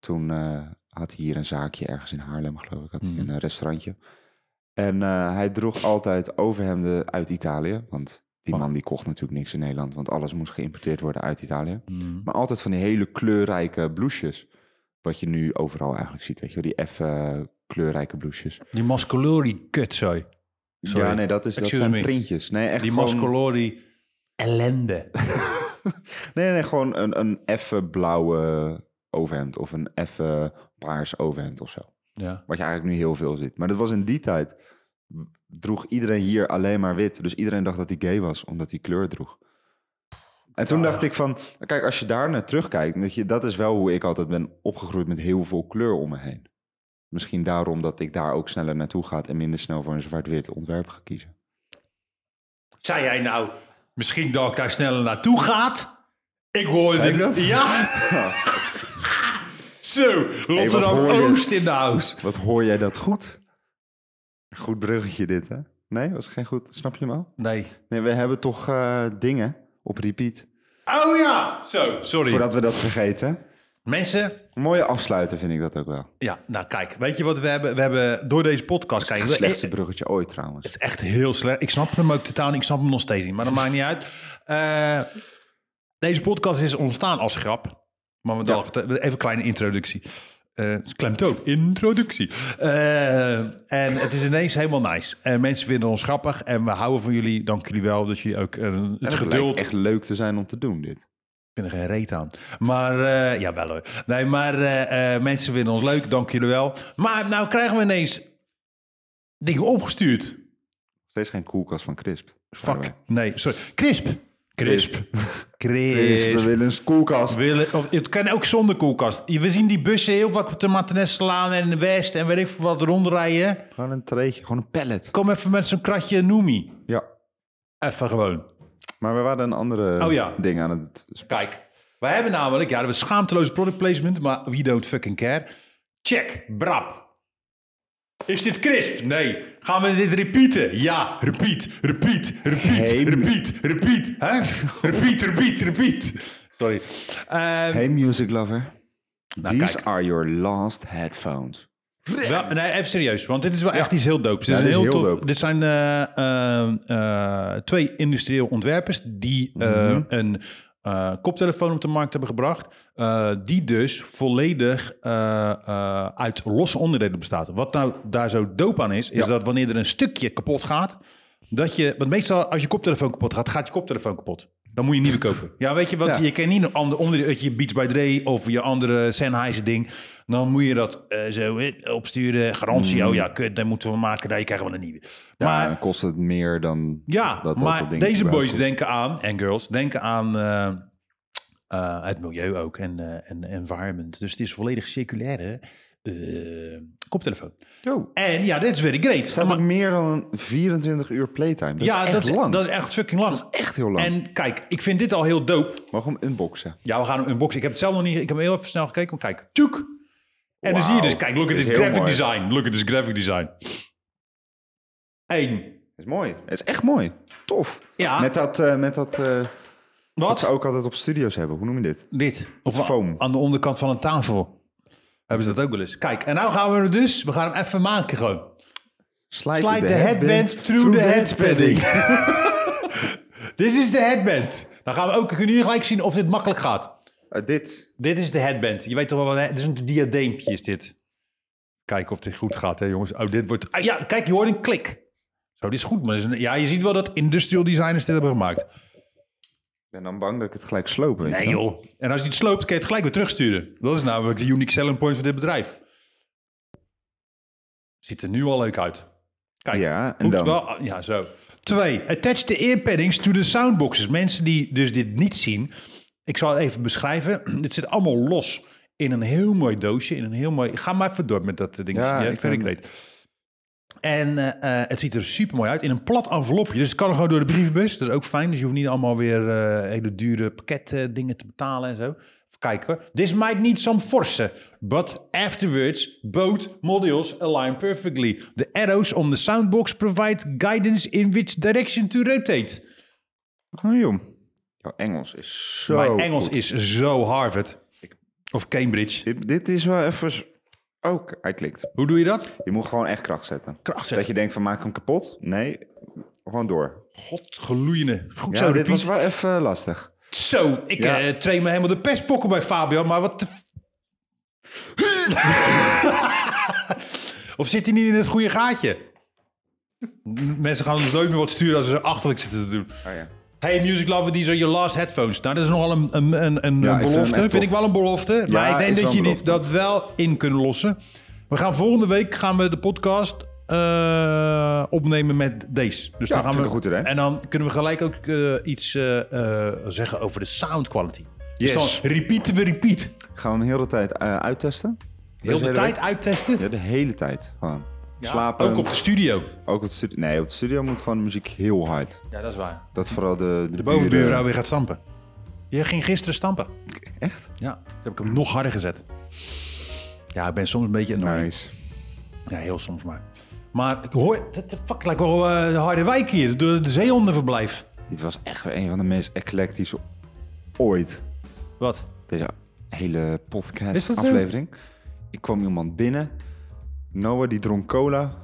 S2: toen eh, had hij hier een zaakje ergens in Haarlem, geloof ik, had
S1: Mhm.
S2: hij een eh, restaurantje. En eh, hij droeg altijd overhemden uit Italië, want die
S1: Oh.
S2: man die kocht natuurlijk niks in Nederland, want alles moest geïmporteerd worden uit Italië.
S1: Mm.
S2: Maar altijd van die hele kleurrijke blouses, wat je nu overal eigenlijk ziet, weet je wel, die effen eh, kleurrijke blouses.
S1: Die mascolori kut, sorry. Sorry.
S2: Ja, nee, dat, is, dat
S1: Excuse
S2: zijn
S1: me.
S2: printjes. Nee, echt
S1: Die
S2: gewoon,
S1: mascolori ellende.
S2: nee, nee, gewoon een, een effen blauwe overhemd of een effen paars overhemd of zo.
S1: ja.
S2: Wat je eigenlijk nu heel veel ziet. Maar dat was in die tijd, w- droeg iedereen hier alleen maar wit. Dus iedereen dacht dat hij gay was, omdat hij kleur droeg. En toen dacht ik van, kijk, als je daar naar terugkijkt, weet je, dat is wel hoe ik altijd ben opgegroeid met heel veel kleur om me heen. Misschien daarom dat ik daar ook sneller naartoe ga en minder snel voor een zwart-wit ontwerp ga kiezen.
S1: Zei jij nou, misschien dat ik daar sneller naartoe gaat? Ik hoorde
S2: Zei Oh. ik dat?
S1: Ja. Zo, Rotterdam
S2: hoor je?
S1: Oost in de house.
S2: Wat hoor jij dat goed? Goed bruggetje dit, hè? Nee, was geen goed. Snap je hem al?
S1: Nee.
S2: Nee, we hebben toch eh, dingen op repeat.
S1: Oh ja, zo, sorry.
S2: Voordat we dat vergeten.
S1: Mensen,
S2: Een mooie afsluiter vind ik dat ook wel.
S1: ja, nou kijk, weet je wat we hebben? We hebben door deze podcast... Kijk,
S2: Het
S1: we-
S2: slechtste bruggetje ooit trouwens.
S1: Het is echt heel slecht. Ik snap hem ook totaal niet. Ik snap hem nog steeds niet. Maar dat maakt niet uit. Eh, deze podcast is ontstaan als grap. Maar we dachten, even een kleine introductie. Eh, het klemt ook. Introductie. Eh, en het is ineens helemaal nice. En mensen vinden ons grappig. En we houden van jullie. Dank jullie wel dat jullie ook eh, het
S2: Het
S1: geduld...
S2: lijkt echt leuk te zijn om te doen, dit.
S1: Ik vind er geen reet aan. Maar, eh ja, wel hoor. Nee, maar eh, eh, mensen vinden ons leuk. Dank jullie wel. Maar nou krijgen we ineens dingen opgestuurd.
S2: Steeds geen koelkast van Crisp.
S1: Fuck. Nee, sorry. Crisp.
S2: Crisp. Crisp, we
S1: Crisp.
S2: willen een koelkast.
S1: Willen, of, het kan ook zonder koelkast. We zien die bussen heel vaak op de Martinez-slaan en de West en weet ik veel wat rondrijden.
S2: Gewoon een treetje, gewoon een pallet.
S1: Kom even met zo'n kratje Noemi.
S2: Ja,
S1: Even gewoon.
S2: maar we waren een andere
S1: Oh ja.
S2: ding aan het... sp-
S1: Kijk, wij hebben namelijk, ja, dat was schaamteloze product placement, maar we don't fucking care. Check, brap. Is dit crisp? Nee. Gaan we dit repeaten? Ja, repeat, repeat, repeat,
S2: Hey,
S1: repeat, repeat. Hè? Repeat, repeat, repeat. Sorry. Ehm,
S2: Hey music lover, these
S1: Nou, kijk.
S2: are your last headphones.
S1: Wel, nee, even serieus, want dit is wel echt iets heel doops. Dit,
S2: Ja,
S1: is
S2: dit is
S1: heel
S2: heel
S1: tof.
S2: dope.
S1: dit zijn eh, eh, eh, twee industrieel ontwerpers die eh,
S2: Mhm.
S1: een eh, koptelefoon op de markt hebben gebracht. eh, die dus volledig eh, eh, uit losse onderdelen bestaat. Wat nou daar zo doop aan is, is dat wanneer er een stukje kapot gaat. Dat je, want meestal als je koptelefoon kapot gaat, gaat je koptelefoon kapot. Dan moet je een nieuwe kopen. Ja, weet je, want
S2: Ja.
S1: je kan niet een ander onderdeel, uit je Beats by Dre of je andere Sennheiser ding. Dan moet je dat eh, zo eh, opsturen, garantie.
S2: Mm.
S1: Oh ja, kut, daar moeten we maken, daar krijgen we een nieuwe.
S2: Maar
S1: maar
S2: kost het meer dan
S1: ja,
S2: dat dat
S1: maar
S2: ding
S1: deze
S2: überhaupt
S1: boys
S2: kost.
S1: denken aan, en girls, denken aan eh, eh, het milieu ook en, eh, en environment. Dus het is volledig circulaire eh, koptelefoon.
S2: Yo.
S1: En ja, dit is weer great.
S2: Het staat
S1: Maar-
S2: ook meer dan 24 uur playtime. Dat
S1: ja,
S2: is echt
S1: dat, is,
S2: lang.
S1: dat is echt fucking lang.
S2: echt heel lang.
S1: En kijk, ik vind dit al heel dope.
S2: Mogen we hem unboxen?
S1: Ja, we gaan hem unboxen. Ik heb het zelf nog niet. Ik heb hem heel even snel gekeken. Want kijk, tjoek. En dan
S2: Wauw.
S1: zie je dus, kijk, look at
S2: Dit is
S1: this
S2: heel
S1: graphic
S2: mooi.
S1: design. Look at this graphic design. Eén.
S2: Het is mooi. Het is echt mooi. Tof.
S1: Ja.
S2: Met dat, eh, met dat eh, wat ze
S1: Wat?
S2: ook altijd op studio's hebben. Hoe noem je dit?
S1: Dit. Of
S2: foam.
S1: aan de onderkant van een tafel. Hebben ze dat ook wel eens. Kijk, en nou gaan we er dus, we gaan hem even maken gewoon.
S2: Slide,
S1: Slide the headband through the headspadding. This is de headband. Dan gaan we ook, kunnen jullie gelijk zien of dit makkelijk gaat.
S2: Eh, dit.
S1: Dit is de headband. Je weet toch wel, wat het is een diadeempje is dit. Kijken of dit goed gaat, hè jongens. Oh, dit wordt... Ah, ja, kijk, je hoort een klik. Zo, dit is goed. Maar dit is een- ja, je ziet wel dat industrial designers dit hebben gemaakt.
S2: Ik ben dan bang dat ik het gelijk sloop. weet
S1: Nee
S2: je wel.
S1: joh. En als je het sloopt, kan je het gelijk weer terugsturen. Dat is namelijk de unique selling point van dit bedrijf. Ziet er nu al leuk uit. Kijk,
S2: Ja, en
S1: hoeft
S2: dan?
S1: wel. Ja, zo. Twee, attach the earpaddings to the soundboxes. Mensen die dus dit niet zien. Ik zal het even beschrijven. dit zit allemaal los in een heel mooi doosje. In een heel mooi... Ga maar even door met dat eh, ding.
S2: Ja,
S1: Ja,
S2: ik
S1: ik vind het
S2: ben-
S1: great. En eh, eh, het ziet er super mooi uit. In een plat envelopje. Dus het kan gewoon door de brievenbus. Dat is ook fijn. Dus je hoeft niet allemaal weer eh, hele dure pakketten eh, dingen te betalen en zo. Even kijken hoor. This might need some force. But afterwards, both models align perfectly. The arrows on the soundbox provide guidance in which direction to rotate.
S2: Oh joh. Jouw Engels is zo
S1: Mijn Engels
S2: goed.
S1: is zo Harvard. Of Cambridge.
S2: Dit, dit is wel even... s- Ook, hij klikt.
S1: Hoe doe je dat?
S2: Je moet gewoon echt kracht zetten.
S1: Kracht
S2: Dat
S1: zetten.
S2: je denkt van maak ik hem kapot? Nee, gewoon door.
S1: Godgeloeiene. Goed
S2: Ja,
S1: zo,
S2: dit
S1: repeat.
S2: was wel even eh, lastig.
S1: Zo, ik
S2: Ja.
S1: eh, train me helemaal de pestpokken bij Fabio, maar wat... de f- of zit hij niet in het goede gaatje? M- Mensen gaan ons nooit meer wat sturen als we zo achterlijk zitten te doen.
S2: Oh ja.
S1: Hey music lover, these are your last headphones. Nou, dat is nogal een, een, een, een
S2: Ja, ik
S1: belofte.
S2: vind hem echt
S1: Vind,
S2: tof.
S1: ik wel een belofte. maar ik denk
S2: is wel
S1: dat
S2: een
S1: jullie
S2: belofte.
S1: dat wel in kunnen lossen. We gaan volgende week gaan we de podcast eh, opnemen met deze. Dus dan gaan
S2: vind
S1: we
S2: ik een goed idee.
S1: En dan kunnen we gelijk ook eh, iets eh, eh, zeggen over de sound quality. Dus
S2: Yes.
S1: dan repeaten we repeat.
S2: Gaan we hem heel de tijd eh, uittesten?
S1: Heel
S2: Deze
S1: de
S2: hele
S1: tijd
S2: week?
S1: uittesten.
S2: Ja, de hele tijd. Gewoon.
S1: Ja,
S2: Slapen.
S1: Ook op de studio.
S2: Ook op de studio. Nee, op de studio moet gewoon de muziek heel hard.
S1: Ja, dat is waar.
S2: Dat is vooral de, de,
S1: De bovenbuurvrouw weer gaat stampen. Je ging gisteren stampen.
S2: buren. Echt?
S1: Ja, toen heb ik hem nog harder gezet. Ja, ik ben soms een beetje annoying.
S2: Nice.
S1: Ja, heel soms maar. Maar ik hoor, dat de fuck lijkt wel eh, de harde wijk hier, de, de zeehondenverblijf.
S2: Dit was echt weer een van de meest eclectische ooit.
S1: Wat?
S2: Deze hele
S1: Is dat
S2: podcast
S1: zo?
S2: aflevering. Ik kwam iemand binnen. Noah die dronk cola.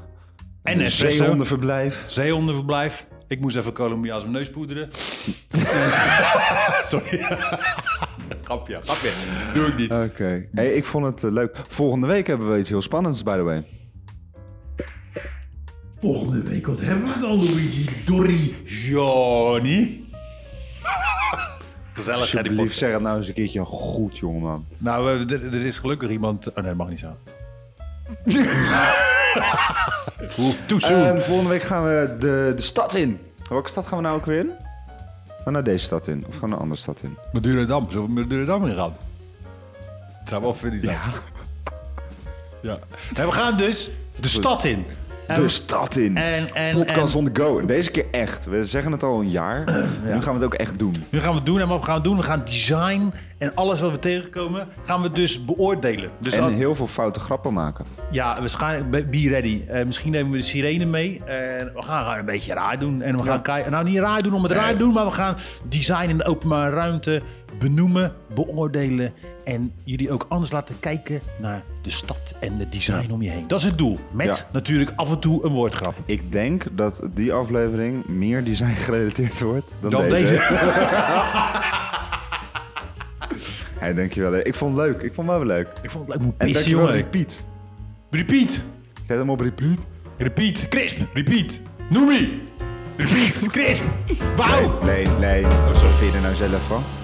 S1: En
S2: Een
S1: espresso.
S2: zeehondenverblijf.
S1: Zeehondenverblijf. Ik moest even Colombiaans mijn neus poederen. Sorry. Eh. grapje, grapje. Doe ik niet.
S2: Oké. Hey, ik vond het eh, leuk. Volgende week hebben we iets heel spannends, by the way.
S1: Volgende week, wat hebben we dan, Luigi? Dorry, Johnny. Gezellig, hè, die
S2: Alsjeblieft,
S1: podcast.
S2: zeg het nou eens een keertje goed, jongeman.
S1: Nou, eh, er, er is gelukkig iemand... Oh nee, dat mag niet zo. Oeh, Too soon.
S2: En volgende week gaan we de, de stad in. Welke stad gaan we nou ook weer in? Gaan we naar deze stad in? Of gaan we naar een andere stad in?
S1: Madurodam. Zullen we Madurodam ingaan? Dat zou wel vinden. Ja. ja. En we gaan dus de stad in.
S2: De stad in!
S1: Ehm, En, en,
S2: Podcast
S1: en
S2: on the go. Deze keer echt. We zeggen het al een jaar. Nu gaan we het ook echt doen.
S1: nu gaan we het doen. En wat we gaan doen, we gaan design en alles wat we tegenkomen, gaan we dus beoordelen. Dus
S2: En
S1: al-
S2: heel veel foute grappen maken.
S1: ja, waarschijnlijk be, be ready. Eh, misschien nemen we de sirene mee. En we gaan gewoon een beetje raar doen. En we gaan kijken. Nou, niet raar doen om het raar te doen, maar we gaan design in de openbare ruimte benoemen, beoordelen. En jullie ook anders laten kijken naar de stad en het design om je heen. Dat is het doel. Met
S2: Ja.
S1: natuurlijk af en toe een woordgrap.
S2: Ik denk dat die aflevering meer design gerelateerd wordt dan,
S1: Dan
S2: deze.
S1: deze.
S2: Hey, dankjewel. Ik vond het leuk. Ik vond het wel leuk.
S1: Ik vond het leuk. Moet
S2: En
S1: pissen,
S2: dankjewel,
S1: jongen.
S2: repeat.
S1: Repeat.
S2: Zet hem op repeat.
S1: Repeat. Crisp. Repeat. Noemie. Repeat. Crisp. Wauw.
S2: Nee, nee. Wat Oh, vind je er nou zelf van?